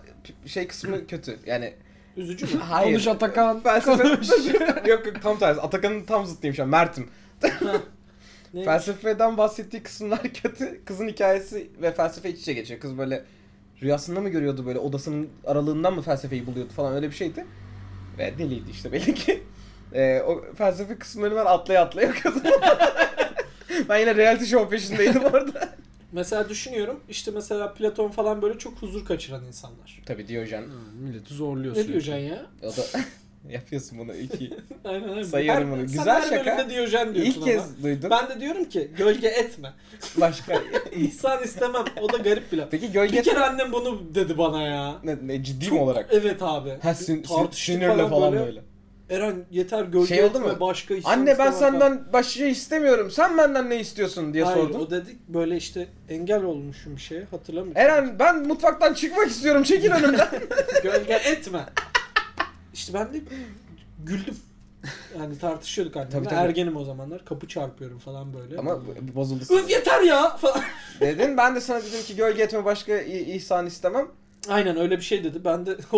[SPEAKER 2] p- şey kısmı kötü. Yani
[SPEAKER 1] Üzücü mü?
[SPEAKER 2] hayır.
[SPEAKER 3] Konuş Atakan.
[SPEAKER 2] Felsefe. yok yok tam tersi. Atakan'ın tam zıttıyım şu an. Mert'im.
[SPEAKER 1] Ne?
[SPEAKER 2] Felsefeden bahsettiği kısımlar kötü. Kızın hikayesi ve felsefe iç içe geçiyor. Kız böyle rüyasında mı görüyordu böyle odasının aralığından mı felsefeyi buluyordu falan öyle bir şeydi. Ve deliydi işte belli ki. Ee, o felsefe kısımlarını ben atlaya atlaya okudum. ben yine reality show peşindeydim orada.
[SPEAKER 1] Mesela düşünüyorum işte mesela Platon falan böyle çok huzur kaçıran insanlar.
[SPEAKER 2] Tabii Diyojen.
[SPEAKER 3] Ha, Milleti zorluyorsun.
[SPEAKER 1] Ne diyeceksin ya?
[SPEAKER 2] O da yapıyorsun bunu iki.
[SPEAKER 1] Aynen aynen.
[SPEAKER 2] Sayıyorum bunu.
[SPEAKER 1] Her-
[SPEAKER 2] Güzel
[SPEAKER 1] sen her
[SPEAKER 2] şaka.
[SPEAKER 1] bölümde Diyojen diyorsun
[SPEAKER 2] İlk
[SPEAKER 1] ama.
[SPEAKER 2] kez duydum.
[SPEAKER 1] Ben de diyorum ki gölge etme.
[SPEAKER 2] Başka.
[SPEAKER 1] İhsan istemem. O da garip bir laf.
[SPEAKER 2] Peki
[SPEAKER 1] Bir
[SPEAKER 2] gölge
[SPEAKER 1] kere annem bunu dedi bana ya.
[SPEAKER 2] ne, ne, ciddi mi olarak?
[SPEAKER 1] Evet abi.
[SPEAKER 2] Ha sin- sin-
[SPEAKER 1] Tartıştık
[SPEAKER 2] sinirle E, falan böyle.
[SPEAKER 1] Eren yeter gölge
[SPEAKER 2] Şey oldu
[SPEAKER 1] etme
[SPEAKER 2] mu?
[SPEAKER 1] başka İhsan
[SPEAKER 2] Anne ben
[SPEAKER 1] istemem falan.
[SPEAKER 2] senden başka şey istemiyorum. Sen benden ne istiyorsun diye
[SPEAKER 1] Hayır,
[SPEAKER 2] sordum.
[SPEAKER 1] o dedik böyle işte engel olmuşum bir şeye hatırlamıyorum.
[SPEAKER 2] Eren ben mutfaktan çıkmak istiyorum. Çekil önümden.
[SPEAKER 1] Gölge etme. İşte ben de güldüm. Yani tartışıyorduk annemle.
[SPEAKER 2] Tabii, tabii.
[SPEAKER 1] Ergenim o zamanlar. Kapı çarpıyorum falan böyle.
[SPEAKER 2] Ama bu- bozuldu.
[SPEAKER 1] Öf yeter ya falan.
[SPEAKER 2] Dedin ben de sana dedim ki gölge etme başka i- ihsan istemem.
[SPEAKER 1] Aynen öyle bir şey dedi. Ben de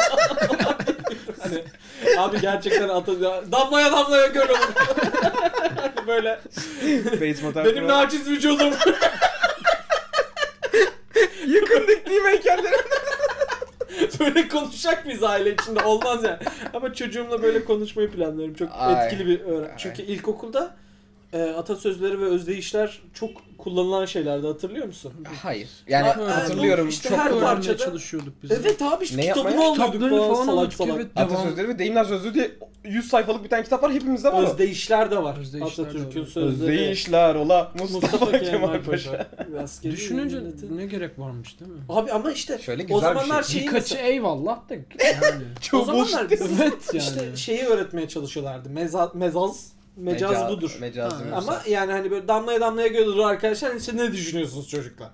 [SPEAKER 1] hani, abi gerçekten atı damlaya damlaya göl olur. Hani böyle
[SPEAKER 2] Base motor.
[SPEAKER 1] benim naciz vücudum.
[SPEAKER 2] yakın diktiğim heykelleri.
[SPEAKER 1] böyle konuşacak mıyız aile içinde? Olmaz yani. Ama çocuğumla böyle konuşmayı planlarım. Çok
[SPEAKER 2] Ay.
[SPEAKER 1] etkili bir öğren.
[SPEAKER 2] Ay.
[SPEAKER 1] Çünkü ilkokulda e, atasözleri ve özdeyişler çok kullanılan şeylerdi hatırlıyor musun?
[SPEAKER 2] Hayır. Yani
[SPEAKER 1] Ha, ha,
[SPEAKER 2] hatırlıyorum.
[SPEAKER 1] bu işte
[SPEAKER 2] çok
[SPEAKER 1] her
[SPEAKER 3] Her
[SPEAKER 1] var.
[SPEAKER 2] var.
[SPEAKER 1] parçada-
[SPEAKER 3] parçada çalışıyorduk biz.
[SPEAKER 1] Evet abi şu
[SPEAKER 2] Ne
[SPEAKER 1] kitabını
[SPEAKER 2] yapmaya?
[SPEAKER 1] alıyorduk
[SPEAKER 3] Kitaplarını
[SPEAKER 1] falan
[SPEAKER 3] falan
[SPEAKER 1] salak
[SPEAKER 3] alıyorduk.
[SPEAKER 1] salak.
[SPEAKER 3] Evet devam.
[SPEAKER 2] Atasözleri ve deyimler sözlüğü diye 100 sayfalık bir tane kitap var. Hepimizde var o.
[SPEAKER 1] Özdeyişler de var.
[SPEAKER 3] Özdeyişler de
[SPEAKER 1] Atatürk'ün
[SPEAKER 3] var.
[SPEAKER 1] sözleri.
[SPEAKER 2] Özdeyişler ola Mustafa,
[SPEAKER 1] Mustafa
[SPEAKER 2] Kemal Paşa.
[SPEAKER 1] Askeri
[SPEAKER 3] Düşününce
[SPEAKER 1] yönetim.
[SPEAKER 3] ne gerek varmış değil mi?
[SPEAKER 1] Abi ama işte
[SPEAKER 2] Şöyle
[SPEAKER 1] o
[SPEAKER 2] güzel bir
[SPEAKER 1] zamanlar
[SPEAKER 2] şey.
[SPEAKER 1] şeyi
[SPEAKER 3] Birkaçı
[SPEAKER 1] mesela-
[SPEAKER 3] eyvallah da yani.
[SPEAKER 1] o zamanlar biz
[SPEAKER 3] Evet yani.
[SPEAKER 1] işte şeyi öğretmeye çalışıyorlardı. Meza, mezaz, mecaz budur.
[SPEAKER 2] Mecaz
[SPEAKER 3] Ha.
[SPEAKER 2] budur.
[SPEAKER 1] ama yani hani böyle damlaya damlaya göl olur arkadaşlar. İşte ne düşünüyorsunuz çocuklar?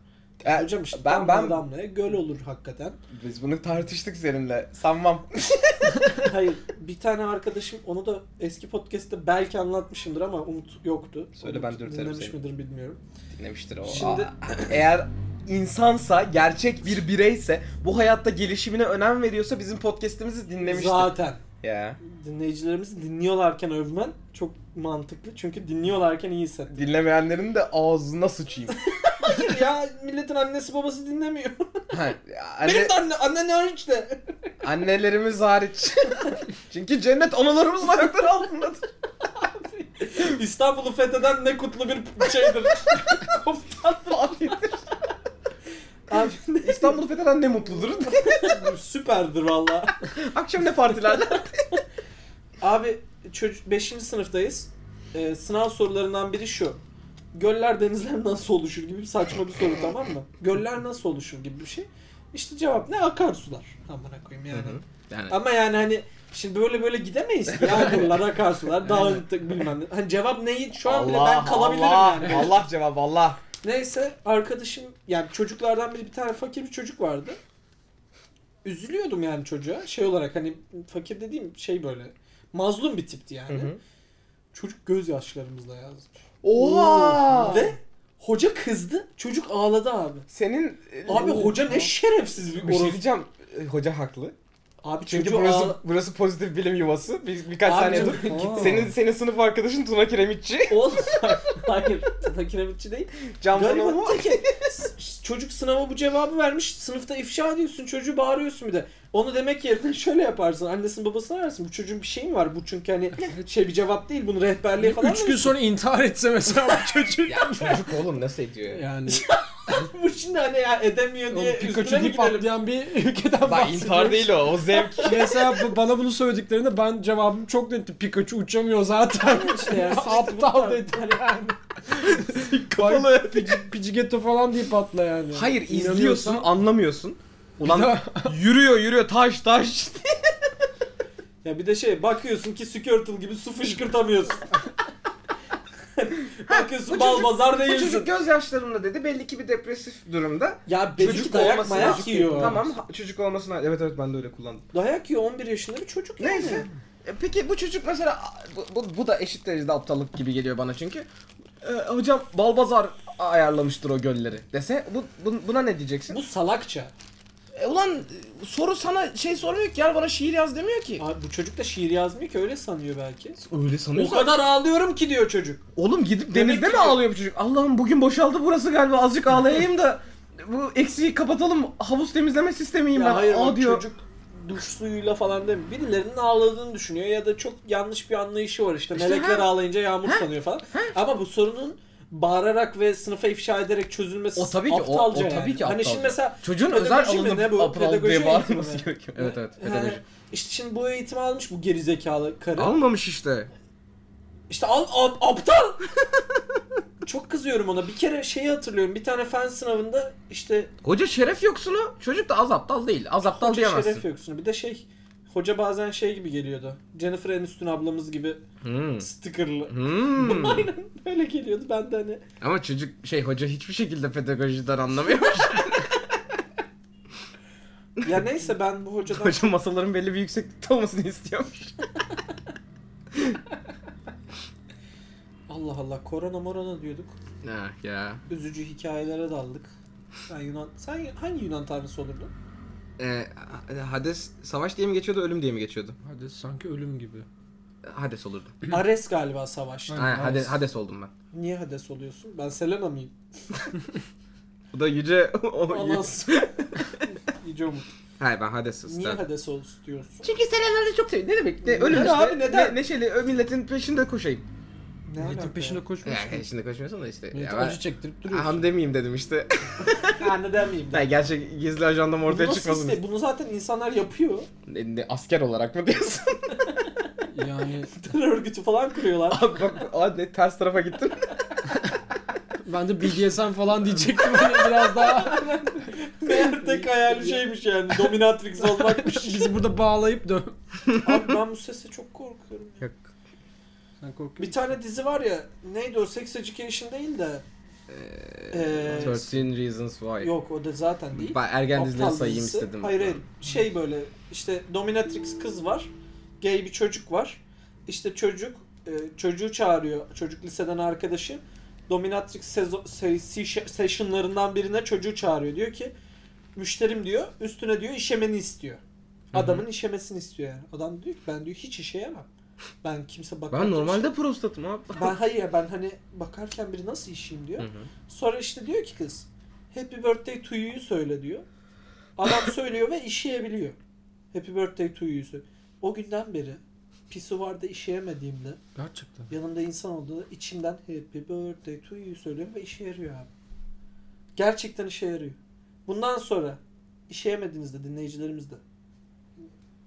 [SPEAKER 2] E,
[SPEAKER 1] Hocam işte
[SPEAKER 2] ben
[SPEAKER 1] damlaya
[SPEAKER 2] ben
[SPEAKER 1] damlaya göl olur hakikaten.
[SPEAKER 2] biz bunu tartıştık seninle. Sanmam.
[SPEAKER 1] Hayır bir tane arkadaşım onu da eski podcast'te belki anlatmışımdır ama Umut yoktu.
[SPEAKER 2] Söyle,
[SPEAKER 1] Umut
[SPEAKER 2] ben dürterim
[SPEAKER 1] Dinlemiş
[SPEAKER 2] seni.
[SPEAKER 1] midir bilmiyorum.
[SPEAKER 2] Dinlemiştir o.
[SPEAKER 1] Şimdi-
[SPEAKER 2] Aa, eğer insansa, gerçek bir bireyse, bu hayatta gelişimine önem veriyorsa bizim podcast'imizi dinlemiştir.
[SPEAKER 1] Zaten.
[SPEAKER 2] Ya.
[SPEAKER 1] dinleyicilerimizi dinliyorlarken övmen çok mantıklı. Çünkü dinliyorlarken iyi hisset.
[SPEAKER 2] Dinlemeyenlerin de ağzına sıçayım.
[SPEAKER 1] Hayır ya milletin annesi babası dinlemiyor.
[SPEAKER 2] ha, anne,
[SPEAKER 1] Benim de anne, anne ne hariç de.
[SPEAKER 2] annelerimiz hariç. Çünkü cennet analarımızın ayakları altındadır.
[SPEAKER 1] İstanbul'u fetheden ne kutlu bir şeydir. Komutan.
[SPEAKER 2] Fatih'tir.
[SPEAKER 1] Abi
[SPEAKER 2] İstanbul'u fetheden ne mutludur.
[SPEAKER 1] ne- süperdir valla.
[SPEAKER 2] Akşam ne partilerler.
[SPEAKER 1] Abi çocuk 5. sınıftayız. Ee, sınav sorularından biri şu. Göller denizler nasıl oluşur gibi bir saçma bir soru tamam mı? Göller nasıl oluşur gibi bir şey. İşte cevap ne? Akarsular. Amına koyayım yani.
[SPEAKER 2] Yani
[SPEAKER 1] Ama yani hani şimdi böyle böyle gidemeyiz. Yağmurlar, akarsular, dağıntık bilmem ne. Hani cevap neyi şu an bile ben kalabilirim
[SPEAKER 2] Allah,
[SPEAKER 1] yani.
[SPEAKER 2] Allah cevabı Allah.
[SPEAKER 1] Neyse arkadaşım yani çocuklardan biri bir tane fakir bir çocuk vardı. Üzülüyordum yani çocuğa. Şey olarak hani fakir dediğim şey böyle mazlum bir tipti yani.
[SPEAKER 2] Hı hı.
[SPEAKER 1] Çocuk gözyaşlarımızla yazmış.
[SPEAKER 2] Oha!
[SPEAKER 1] Ve hoca kızdı. Çocuk ağladı abi.
[SPEAKER 2] senin e,
[SPEAKER 1] Abi hoca ne şerefsiz bir
[SPEAKER 2] bir şey
[SPEAKER 1] orospu.
[SPEAKER 2] diyeceğim. e, Hoca haklı.
[SPEAKER 1] Abi
[SPEAKER 2] Çünkü
[SPEAKER 1] çocuğu
[SPEAKER 2] burası
[SPEAKER 1] ağla-
[SPEAKER 2] burası pozitif bilim yuvası. Bir, birkaç
[SPEAKER 1] Abi
[SPEAKER 2] saniye dur.
[SPEAKER 1] canım,
[SPEAKER 3] git.
[SPEAKER 2] Senin senin sınıf arkadaşın Tuna Kiremitçi.
[SPEAKER 1] Oğlum hayır. Tuna kiremitçi değil.
[SPEAKER 2] Camdan
[SPEAKER 1] Gariban
[SPEAKER 2] ama.
[SPEAKER 1] teki. S- Çocuk sınava bu cevabı vermiş. Sınıfta ifşa ediyorsun. Çocuğu bağırıyorsun bir de. Onu demek yerine şöyle yaparsın. Annesini babasını ararsın. Bu çocuğun bir şeyi mi var? Bu çünkü hani şey bir cevap değil. Bunu
[SPEAKER 3] Hani
[SPEAKER 1] rehberliğe falan
[SPEAKER 3] Üç gün sonra intihar etse mesela bu çocuk.
[SPEAKER 2] Ya çocuk oğlum nasıl ediyor ya?
[SPEAKER 3] yani
[SPEAKER 1] Bu şimdi hani ya edemiyor diye üstüne
[SPEAKER 3] Pikachu
[SPEAKER 1] mi
[SPEAKER 3] deyip
[SPEAKER 1] gidelim?
[SPEAKER 3] atlayan bir ülkeden
[SPEAKER 2] Bak
[SPEAKER 3] bahsediyoruz.
[SPEAKER 2] intihar değil o. O zevk.
[SPEAKER 3] Mesela bu- bana bunu söylediklerinde ben cevabım çok netti. Pikachu uçamıyor zaten.
[SPEAKER 1] İşte ya, sıçtı
[SPEAKER 3] Aptal
[SPEAKER 1] bunlar.
[SPEAKER 3] dedim yani. Kafalı. Picigetto falan deyip atla yani.
[SPEAKER 2] Hayır izliyorsun
[SPEAKER 3] İnanıyorsan-
[SPEAKER 2] anlamıyorsun. Ulan yürüyor yürüyor taş taş.
[SPEAKER 1] Ya bir de şey bakıyorsun ki Squirtle gibi su fışkırtamıyorsun. bakıyorsun bal bazar
[SPEAKER 2] Bu
[SPEAKER 1] değilsin.
[SPEAKER 2] çocuk gözyaşlarımla dedi. Belli ki bir depresif durumda.
[SPEAKER 1] Ya belki
[SPEAKER 2] Çocuk
[SPEAKER 1] dayak
[SPEAKER 2] olmasın,
[SPEAKER 1] mayak
[SPEAKER 2] çocuk
[SPEAKER 1] yiyor.
[SPEAKER 2] Tamam ha- çocuk olmasına evet evet ben de öyle kullandım.
[SPEAKER 1] Dayak yiyor 11 yaşında bir çocuk yani.
[SPEAKER 2] Neyse. E, Peki bu çocuk mesela bu, bu, bu da eşit derecede aptallık gibi geliyor bana çünkü. E, hocam Balbazar ayarlamıştır o gölleri dese bu, bu- buna ne diyeceksin?
[SPEAKER 1] Bu salakça.
[SPEAKER 2] E, ulan e, soru sana şey sormuyor ki ya bana şiir yaz demiyor ki.
[SPEAKER 1] Abi bu çocuk da şiir yazmıyor ki öyle sanıyor belki.
[SPEAKER 2] Öyle
[SPEAKER 1] O kadar ağlıyorum ki diyor çocuk.
[SPEAKER 2] Oğlum gidip
[SPEAKER 1] Demek
[SPEAKER 2] denizde
[SPEAKER 1] ki-
[SPEAKER 2] mi ağlıyor bu çocuk? Allah'ım bugün boşaldı burası galiba azıcık ağlayayım da bu eksiği kapatalım havuz temizleme sistemiyim ben.
[SPEAKER 1] Ya hayır
[SPEAKER 2] Aa
[SPEAKER 1] o
[SPEAKER 2] diyor.
[SPEAKER 1] çocuk duş suyuyla falan değil mi? Birilerinin ağladığını düşünüyor ya da çok yanlış bir anlayışı var işte.
[SPEAKER 2] İşte
[SPEAKER 1] Melekler
[SPEAKER 2] ha.
[SPEAKER 1] ağlayınca yağmur sanıyor falan. Ama bu sorunun bağırarak ve sınıfa ifşa ederek çözülmesi
[SPEAKER 2] O tabii ki o, o
[SPEAKER 1] aptalca
[SPEAKER 2] tabii
[SPEAKER 1] yani.
[SPEAKER 2] ki aptalca.
[SPEAKER 1] Hani şimdi mesela
[SPEAKER 2] çocuğun
[SPEAKER 1] pedagoji
[SPEAKER 2] özel
[SPEAKER 1] mi ne
[SPEAKER 2] alanında
[SPEAKER 1] bu?
[SPEAKER 2] aptal
[SPEAKER 1] Pedagoji
[SPEAKER 2] diye
[SPEAKER 1] eğitimi
[SPEAKER 2] bağırması
[SPEAKER 1] mi?
[SPEAKER 2] gerekiyor. Evet evet
[SPEAKER 1] Yani
[SPEAKER 2] pedagoji.
[SPEAKER 1] işte şimdi bu eğitimi almış bu gerizekalı karı.
[SPEAKER 2] Almamış işte.
[SPEAKER 1] İşte al, ap- aptal. Çok kızıyorum ona. Bir kere şeyi hatırlıyorum. Bir tane fen sınavında işte
[SPEAKER 2] Hoca şeref yoksunu çocuk da az aptal değil. Az aptal
[SPEAKER 1] hoca
[SPEAKER 2] diyemezsin.
[SPEAKER 1] şeref yoksun. Bir de şey hoca bazen şey gibi geliyordu. Jennifer Aniston ablamız gibi
[SPEAKER 2] Hmm.
[SPEAKER 1] stickerlı.
[SPEAKER 2] Hmm.
[SPEAKER 1] Aynen öyle geliyordu. Ben de hani
[SPEAKER 2] Ama çocuk şey hoca hiçbir şekilde pedagojiden anlamıyor.
[SPEAKER 1] ya neyse ben bu hocadan
[SPEAKER 2] hoca masaların belli bir yükseklikte olmasını istiyormuş.
[SPEAKER 1] Allah Allah korona morona diyorduk.
[SPEAKER 2] Ha ya.
[SPEAKER 1] Üzücü hikayelere daldık. Sen Yunan sen hangi Yunan tanrısı olurdun?
[SPEAKER 2] Ee, Hades savaş diye mi geçiyordu ölüm diye mi geçiyordu?
[SPEAKER 3] Hadi sanki ölüm gibi.
[SPEAKER 2] Hades olurdu.
[SPEAKER 1] Ares galiba savaştı.
[SPEAKER 3] Ha.
[SPEAKER 2] Ha, Hades,
[SPEAKER 3] Hades.
[SPEAKER 2] Hades oldum ben.
[SPEAKER 1] Niye Hades oluyorsun? Ben Selena mıyım?
[SPEAKER 2] Bu da yüce... o,
[SPEAKER 1] Anas. Yüce Umut.
[SPEAKER 2] Hayır ben Hades'iz.
[SPEAKER 1] Niye
[SPEAKER 2] tabii.
[SPEAKER 1] Hades istiyorsun?
[SPEAKER 2] Çünkü Selena'da çok seviyorum. Ne demek? Ne,
[SPEAKER 1] Neden
[SPEAKER 2] ölüm işte.
[SPEAKER 1] abi, neden?
[SPEAKER 2] Ne, neşeli ö, milletin peşinde koşayım.
[SPEAKER 1] Ne
[SPEAKER 3] Milletin
[SPEAKER 1] alaka
[SPEAKER 3] peşinde
[SPEAKER 1] ya?
[SPEAKER 3] koşmuyorsun.
[SPEAKER 2] Yani peşinde koşmuyorsan da işte.
[SPEAKER 3] Milleti
[SPEAKER 2] Ya ben,
[SPEAKER 3] acı çektirip duruyorsun.
[SPEAKER 2] Ham demeyeyim dedim işte.
[SPEAKER 1] Ha neden miyim?
[SPEAKER 2] ya
[SPEAKER 1] Ben
[SPEAKER 2] gerçek gizli ajandam ortaya
[SPEAKER 1] bunu, nasıl
[SPEAKER 2] çıkmasın.
[SPEAKER 1] iste- bunu zaten insanlar yapıyor.
[SPEAKER 2] Ne, ne, asker olarak mı diyorsun?
[SPEAKER 3] Yani
[SPEAKER 1] Terör örgütü falan kuruyorlar.
[SPEAKER 2] abi bak abi ne ters tarafa gittin.
[SPEAKER 3] ben de BDSM falan diyecektim hani biraz daha.
[SPEAKER 1] Meğer tek hayali şeymiş yani. Dominatrix olmakmış.
[SPEAKER 3] Bizi burada bağlayıp dön.
[SPEAKER 1] Abi ben bu sese çok korkuyorum.
[SPEAKER 2] Yok.
[SPEAKER 3] Sen korkuyor
[SPEAKER 1] Bir tane dizi var ya. Neydi o? Sex Education değil de. Ee,
[SPEAKER 2] 13 Reasons Why.
[SPEAKER 1] yok o da zaten değil.
[SPEAKER 2] Ben ergen
[SPEAKER 1] Aptal
[SPEAKER 2] dizileri sayayım
[SPEAKER 1] dizisi.
[SPEAKER 2] istedim.
[SPEAKER 1] Hayır hayır. Şey böyle işte dominatrix kız var. Gay bir çocuk var. İşte çocuk e, çocuğu çağırıyor. Çocuk liseden arkadaşı. Dominatrix sezo- se- se- sessionlarından birine çocuğu çağırıyor. Diyor ki müşterim diyor üstüne diyor işemeni istiyor. Adamın işemesini istiyor yani. Adam diyor ki ben diyor hiç işeyemem. Ben kimse bakar.
[SPEAKER 2] Ben normalde prostatım abi.
[SPEAKER 1] Ben hayır ya, ben hani bakarken biri nasıl işeyim diyor.
[SPEAKER 2] Hı hı.
[SPEAKER 1] Sonra işte diyor ki kız Happy Birthday to you'yu söyle diyor. Adam söylüyor ve işeyebiliyor. Happy Birthday to you'yu söyle. O günden beri pisuvarda işeyemediğimde
[SPEAKER 3] Gerçekten.
[SPEAKER 1] yanımda insan olduğu içimden Happy Birthday to you söylüyorum ve işe yarıyor abi. Gerçekten işe yarıyor. Bundan sonra işeyemediğinizde dinleyicilerimiz de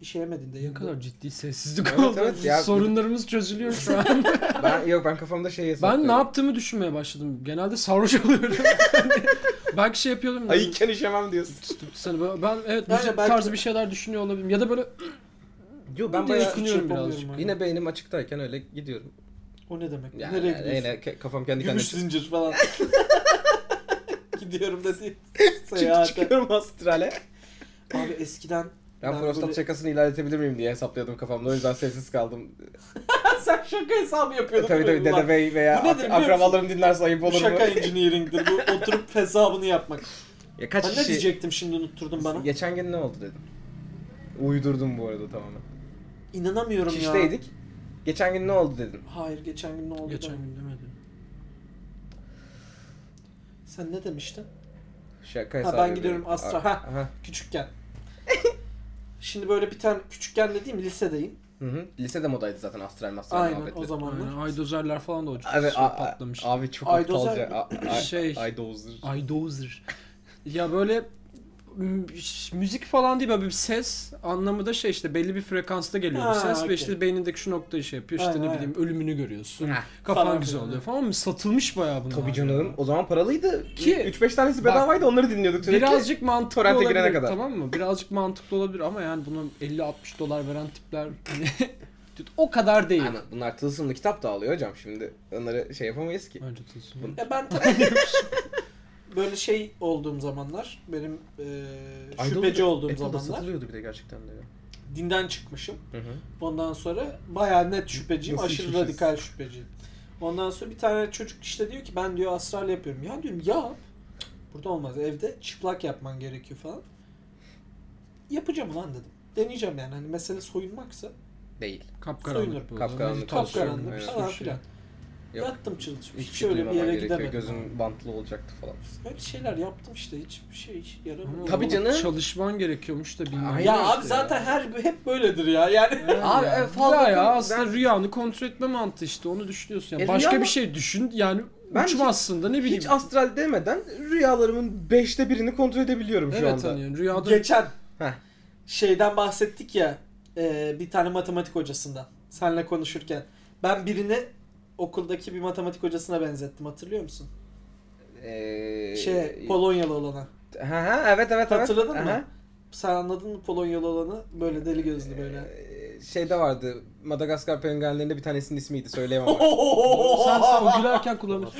[SPEAKER 1] işeyemediğinde
[SPEAKER 3] Ne
[SPEAKER 1] yanımda-
[SPEAKER 3] kadar ciddi sessizlik
[SPEAKER 2] Evet,
[SPEAKER 3] oldu.
[SPEAKER 2] evet ya.
[SPEAKER 3] Sorunlarımız çözülüyor şu an.
[SPEAKER 2] ben yok ben kafamda şey hesaplıyorum.
[SPEAKER 3] ben ne yaptığımı düşünmeye başladım. Genelde sarhoş oluyorum. belki şey yapıyordum.
[SPEAKER 2] Ayıkken işemem diyorsun.
[SPEAKER 3] Sana böyle- ben evet
[SPEAKER 1] Yani
[SPEAKER 3] müzik
[SPEAKER 1] belki-
[SPEAKER 3] tarzı bir şeyler düşünüyor olabilirim. Ya da böyle
[SPEAKER 2] Yo
[SPEAKER 1] ben
[SPEAKER 2] ben
[SPEAKER 1] bayağı
[SPEAKER 2] bayağı
[SPEAKER 1] hiç
[SPEAKER 3] düşünüyorum
[SPEAKER 1] yapamıyorum
[SPEAKER 3] birazcık.
[SPEAKER 1] abi.
[SPEAKER 2] Yine beynim açıktayken öyle gidiyorum.
[SPEAKER 1] O ne demek?
[SPEAKER 2] Yani,
[SPEAKER 1] Nereye
[SPEAKER 2] yani
[SPEAKER 1] gidiyorsun?
[SPEAKER 2] yine ke- kafam kendi kendine.
[SPEAKER 1] Gümüş zincir falan. Gidiyorum da diye
[SPEAKER 2] Çünkü
[SPEAKER 1] seyahate.
[SPEAKER 2] çıkıyorum astrale.
[SPEAKER 1] Abi eskiden
[SPEAKER 2] Ben,
[SPEAKER 1] Ben
[SPEAKER 2] prostat
[SPEAKER 1] böyle-
[SPEAKER 2] şakasını ilerletebilir miyim diye hesaplıyordum kafamda. O yüzden sessiz kaldım.
[SPEAKER 1] sen şaka hesabı yapıyordun.
[SPEAKER 2] E, tabii
[SPEAKER 1] değil
[SPEAKER 2] tabii
[SPEAKER 1] mi?
[SPEAKER 2] dede
[SPEAKER 1] Ulan,
[SPEAKER 2] bey veya
[SPEAKER 1] Bu nedir biliyor
[SPEAKER 2] ak-
[SPEAKER 1] musun?
[SPEAKER 2] akrabalarım dinlerse ayıp
[SPEAKER 1] bu
[SPEAKER 2] olur mu?
[SPEAKER 1] şaka engineering'dir. Bu oturup hesabını yapmak.
[SPEAKER 2] Ya kaç
[SPEAKER 1] Ben ne
[SPEAKER 2] kişi...
[SPEAKER 1] diyecektim şimdi unutturdun bana.
[SPEAKER 2] Geçen gün ne oldu dedim. Uydurdum bu arada tamamen.
[SPEAKER 1] İnanamıyorum ya.
[SPEAKER 2] Şişteydik. Geçen gün ne oldu dedim.
[SPEAKER 1] Hayır geçen gün ne oldu?
[SPEAKER 3] geçen
[SPEAKER 1] da?
[SPEAKER 3] gün demedim.
[SPEAKER 1] Sen ne demiştin?
[SPEAKER 2] Şaka
[SPEAKER 1] Ha,
[SPEAKER 2] hesabı.
[SPEAKER 1] ben gidiyorum
[SPEAKER 2] yapıyorum.
[SPEAKER 1] Astra.
[SPEAKER 2] A-
[SPEAKER 1] Ha.
[SPEAKER 2] Aha.
[SPEAKER 1] Küçükken. şimdi böyle bir tane küçükken dediğim lisedeyim.
[SPEAKER 2] Hı hı. Lisede modaydı zaten astral mastral
[SPEAKER 1] Aynen
[SPEAKER 2] muhabbetleri.
[SPEAKER 1] o zamanlar.
[SPEAKER 3] Yani aydozerler falan da o çok
[SPEAKER 2] Abi,
[SPEAKER 3] şey
[SPEAKER 2] a- a-
[SPEAKER 3] patlamış.
[SPEAKER 2] abi çok
[SPEAKER 1] Aydozer-
[SPEAKER 2] aptalca. A- a-
[SPEAKER 3] Şey-
[SPEAKER 2] Aydozzer.
[SPEAKER 3] Aydozer. ya böyle m- müzik falan değil böyle bir ses anlamı da şey işte belli bir frekansta geliyor
[SPEAKER 1] Ha,
[SPEAKER 3] bir ses ve
[SPEAKER 1] okey.
[SPEAKER 3] işte beynindeki şu noktayı şey yapıyor işte
[SPEAKER 1] Aynen,
[SPEAKER 3] ne
[SPEAKER 1] aynen.
[SPEAKER 3] bileyim ölümünü görüyorsun.
[SPEAKER 2] Ha.
[SPEAKER 3] Kafan
[SPEAKER 1] Falan
[SPEAKER 3] güzel
[SPEAKER 1] filan.
[SPEAKER 3] oluyor falan mı? Satılmış bayağı bunlar.
[SPEAKER 2] Tabii canım. O zaman paralıydı.
[SPEAKER 3] Ki-
[SPEAKER 2] 3-5 tanesi
[SPEAKER 3] Bak-
[SPEAKER 2] bedavaydı onları dinliyorduk sürekli.
[SPEAKER 3] Birazcık mantıklı
[SPEAKER 2] Torrent'e girene
[SPEAKER 3] olabilir
[SPEAKER 2] kadar.
[SPEAKER 3] tamam mı? Birazcık mantıklı olabilir ama yani buna 50-60 dolar veren tipler hani o kadar değil.
[SPEAKER 2] Aynen. Bunlar tılsımlı kitap da alıyor hocam şimdi. Onları şey yapamayız ki.
[SPEAKER 3] Bence tutsun.
[SPEAKER 1] Ya ben tabii böyle şey olduğum zamanlar benim e, şüpheci olduğum zamanlar
[SPEAKER 2] satılıyordu bir de gerçekten de.
[SPEAKER 1] dinden çıkmışım.
[SPEAKER 2] Hı hı.
[SPEAKER 1] Ondan sonra bayağı net şüpheciyim.
[SPEAKER 2] Nasıl şey
[SPEAKER 1] aşırı
[SPEAKER 2] içmişiz?
[SPEAKER 1] radikal şüpheciyim. Ondan sonra bir tane çocuk işte diyor ki ben diyor astral yapıyorum. Ya diyorum yap. Burada olmaz. Evde çıplak yapman gerekiyor falan. Yapacağım ulan dedim. Deneyeceğim yani. Hani mesele soyunmaksa
[SPEAKER 2] Değil.
[SPEAKER 3] Kapkaranlık
[SPEAKER 1] Soyunur.
[SPEAKER 3] bu.
[SPEAKER 2] Kapkaranlık.
[SPEAKER 3] Meditasyon,
[SPEAKER 1] kapkaranlık
[SPEAKER 2] evet.
[SPEAKER 1] falan
[SPEAKER 3] şey.
[SPEAKER 1] filan.
[SPEAKER 2] Yok.
[SPEAKER 1] Yattım çalışmış.
[SPEAKER 2] Hiç
[SPEAKER 1] Hiç öyle bir yere gidemedim.
[SPEAKER 2] Gözün bantlı olacaktı falan.
[SPEAKER 1] Öyle şeyler yaptım işte. Hiçbir şey hiç yaramadı.
[SPEAKER 3] Ama
[SPEAKER 2] Tabii
[SPEAKER 3] oğlum,
[SPEAKER 2] canım.
[SPEAKER 3] Çalışman gerekiyormuş da bilmem.
[SPEAKER 2] Aynen
[SPEAKER 1] Ya
[SPEAKER 2] işte
[SPEAKER 1] abi
[SPEAKER 2] ya.
[SPEAKER 1] zaten her hep böyledir ya. Yani
[SPEAKER 2] Abi,
[SPEAKER 3] Abi
[SPEAKER 2] e, fazla
[SPEAKER 3] ya, fazla ya
[SPEAKER 2] kıl-
[SPEAKER 3] aslında rüyanı kontrol etme mantığı işte onu düşünüyorsun. Yani
[SPEAKER 2] E,
[SPEAKER 3] başka
[SPEAKER 2] rüya
[SPEAKER 3] bir
[SPEAKER 2] mı-
[SPEAKER 3] şey düşün yani
[SPEAKER 2] Ben
[SPEAKER 3] uçmazsın da ne bileyim.
[SPEAKER 2] Hiç astral demeden rüyalarımın 5'te birini kontrol edebiliyorum şu
[SPEAKER 3] evet
[SPEAKER 2] anda.
[SPEAKER 3] hani rüyada
[SPEAKER 1] geçen
[SPEAKER 2] Heh.
[SPEAKER 1] şeyden bahsettik ya e, bir tane matematik hocasından senle konuşurken ben birini okuldaki bir matematik hocasına benzettim hatırlıyor musun?
[SPEAKER 2] Ee,
[SPEAKER 1] Şey Polonyalı olana.
[SPEAKER 2] Ha ha evet evet evet.
[SPEAKER 1] Hatırladın
[SPEAKER 2] Aha.
[SPEAKER 1] mı? Sen anladın mı Polonyalı olanı? Böyle deli gözlü böyle.
[SPEAKER 2] Ee, Şeyde vardı. Madagaskar penguenlerinde bir tanesinin ismiydi söyleyemem. ama.
[SPEAKER 3] sen sen o
[SPEAKER 1] Sen
[SPEAKER 3] gülerken kullanırsın.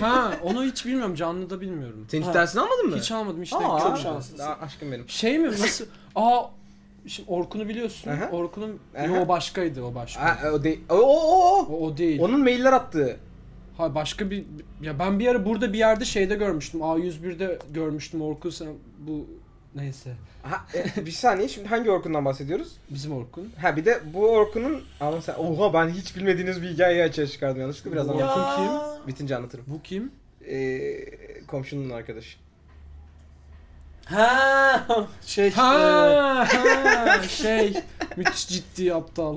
[SPEAKER 3] ha onu hiç bilmiyorum canlı da bilmiyorum.
[SPEAKER 2] Sen hiç
[SPEAKER 1] Ha.
[SPEAKER 2] dersini almadın mı?
[SPEAKER 3] Hiç almadım hiç
[SPEAKER 2] Aa,
[SPEAKER 3] denk
[SPEAKER 1] çok
[SPEAKER 3] gelmedi.
[SPEAKER 1] şanslısın.
[SPEAKER 2] Aa, Aşkım benim.
[SPEAKER 3] Şey mi nasıl? Aa şimdi Orkun'u biliyorsun.
[SPEAKER 2] Aha.
[SPEAKER 3] Orkun'un
[SPEAKER 2] Aha.
[SPEAKER 3] Yo, o başkaydı o başka.
[SPEAKER 2] Aa, o değil. O, o, o.
[SPEAKER 3] O, o değil.
[SPEAKER 2] Onun mailler attığı.
[SPEAKER 3] Ha başka bir ya ben bir ara burada bir yerde şeyde görmüştüm. A101'de görmüştüm Orkun sen bu neyse.
[SPEAKER 2] Ha, e, bir saniye şimdi hangi Orkun'dan bahsediyoruz?
[SPEAKER 3] Bizim Orkun.
[SPEAKER 2] Ha bir de bu Orkun'un ama sen oha ben hiç bilmediğiniz bir hikayeyi açığa çıkardım yanlışlıkla biraz
[SPEAKER 3] Ya.
[SPEAKER 2] anlatayım.
[SPEAKER 3] kim?
[SPEAKER 2] Bitince anlatırım.
[SPEAKER 3] Bu kim?
[SPEAKER 2] Ee, komşunun arkadaşı.
[SPEAKER 1] Ha şey işte.
[SPEAKER 3] Ha, ha şey müthiş ciddi aptal.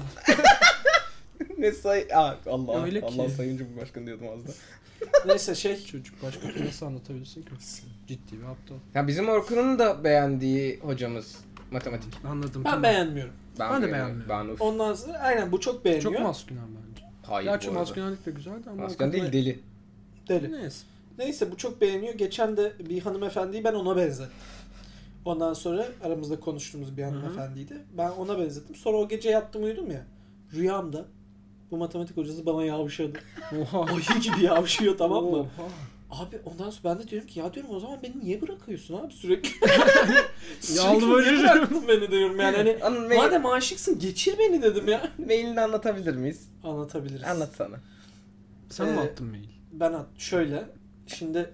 [SPEAKER 2] ne say Aa, Allah
[SPEAKER 3] Öyle ki.
[SPEAKER 2] Allah sayın cumhurbaşkanı diyordum az da.
[SPEAKER 1] Neyse şey.
[SPEAKER 3] Çocuk başka türlü nasıl anlatabilirsin ki? Ciddi bir aptal.
[SPEAKER 2] Ya bizim Orkun'un da beğendiği hocamız matematik.
[SPEAKER 3] Anladım.
[SPEAKER 1] Ben beğenmiyorum.
[SPEAKER 2] Ben,
[SPEAKER 3] Ben de
[SPEAKER 2] beğenmiyorum.
[SPEAKER 3] beğenmiyorum.
[SPEAKER 2] Ben uf.
[SPEAKER 1] Ondan sonra aynen bu çok beğeniyor.
[SPEAKER 3] Çok maskülen bence.
[SPEAKER 2] Hayır
[SPEAKER 3] Gerçi
[SPEAKER 2] bu arada.
[SPEAKER 3] maskülenlik de güzeldi ama...
[SPEAKER 2] Maskülen değil deli.
[SPEAKER 1] Deli.
[SPEAKER 3] Neyse.
[SPEAKER 1] Neyse bu çok beğeniyor. Geçen de bir hanımefendiyi ben ona benzettim. Ondan sonra aramızda konuştuğumuz bir hanımefendiydi. Ben ona benzettim. Sonra o gece yattım uyudum ya. Rüyamda bu matematik hocası bana yavşadı.
[SPEAKER 3] Oha.
[SPEAKER 1] Ayı gibi yavşıyor tamam mı?
[SPEAKER 3] Oha.
[SPEAKER 1] Abi ondan sonra ben de diyorum ki ya diyorum o zaman beni niye bırakıyorsun abi sürekli? Sürekli
[SPEAKER 3] Yalvarırım.
[SPEAKER 1] niye bıraktın beni diyorum yani hani
[SPEAKER 2] Anın mail,
[SPEAKER 1] madem aşıksın geçir beni dedim ya.
[SPEAKER 2] mailini anlatabilir miyiz?
[SPEAKER 1] Anlatabiliriz.
[SPEAKER 2] Anlatsana.
[SPEAKER 3] Sen
[SPEAKER 1] Ee,
[SPEAKER 3] mi attın mail?
[SPEAKER 1] ben at şöyle şimdi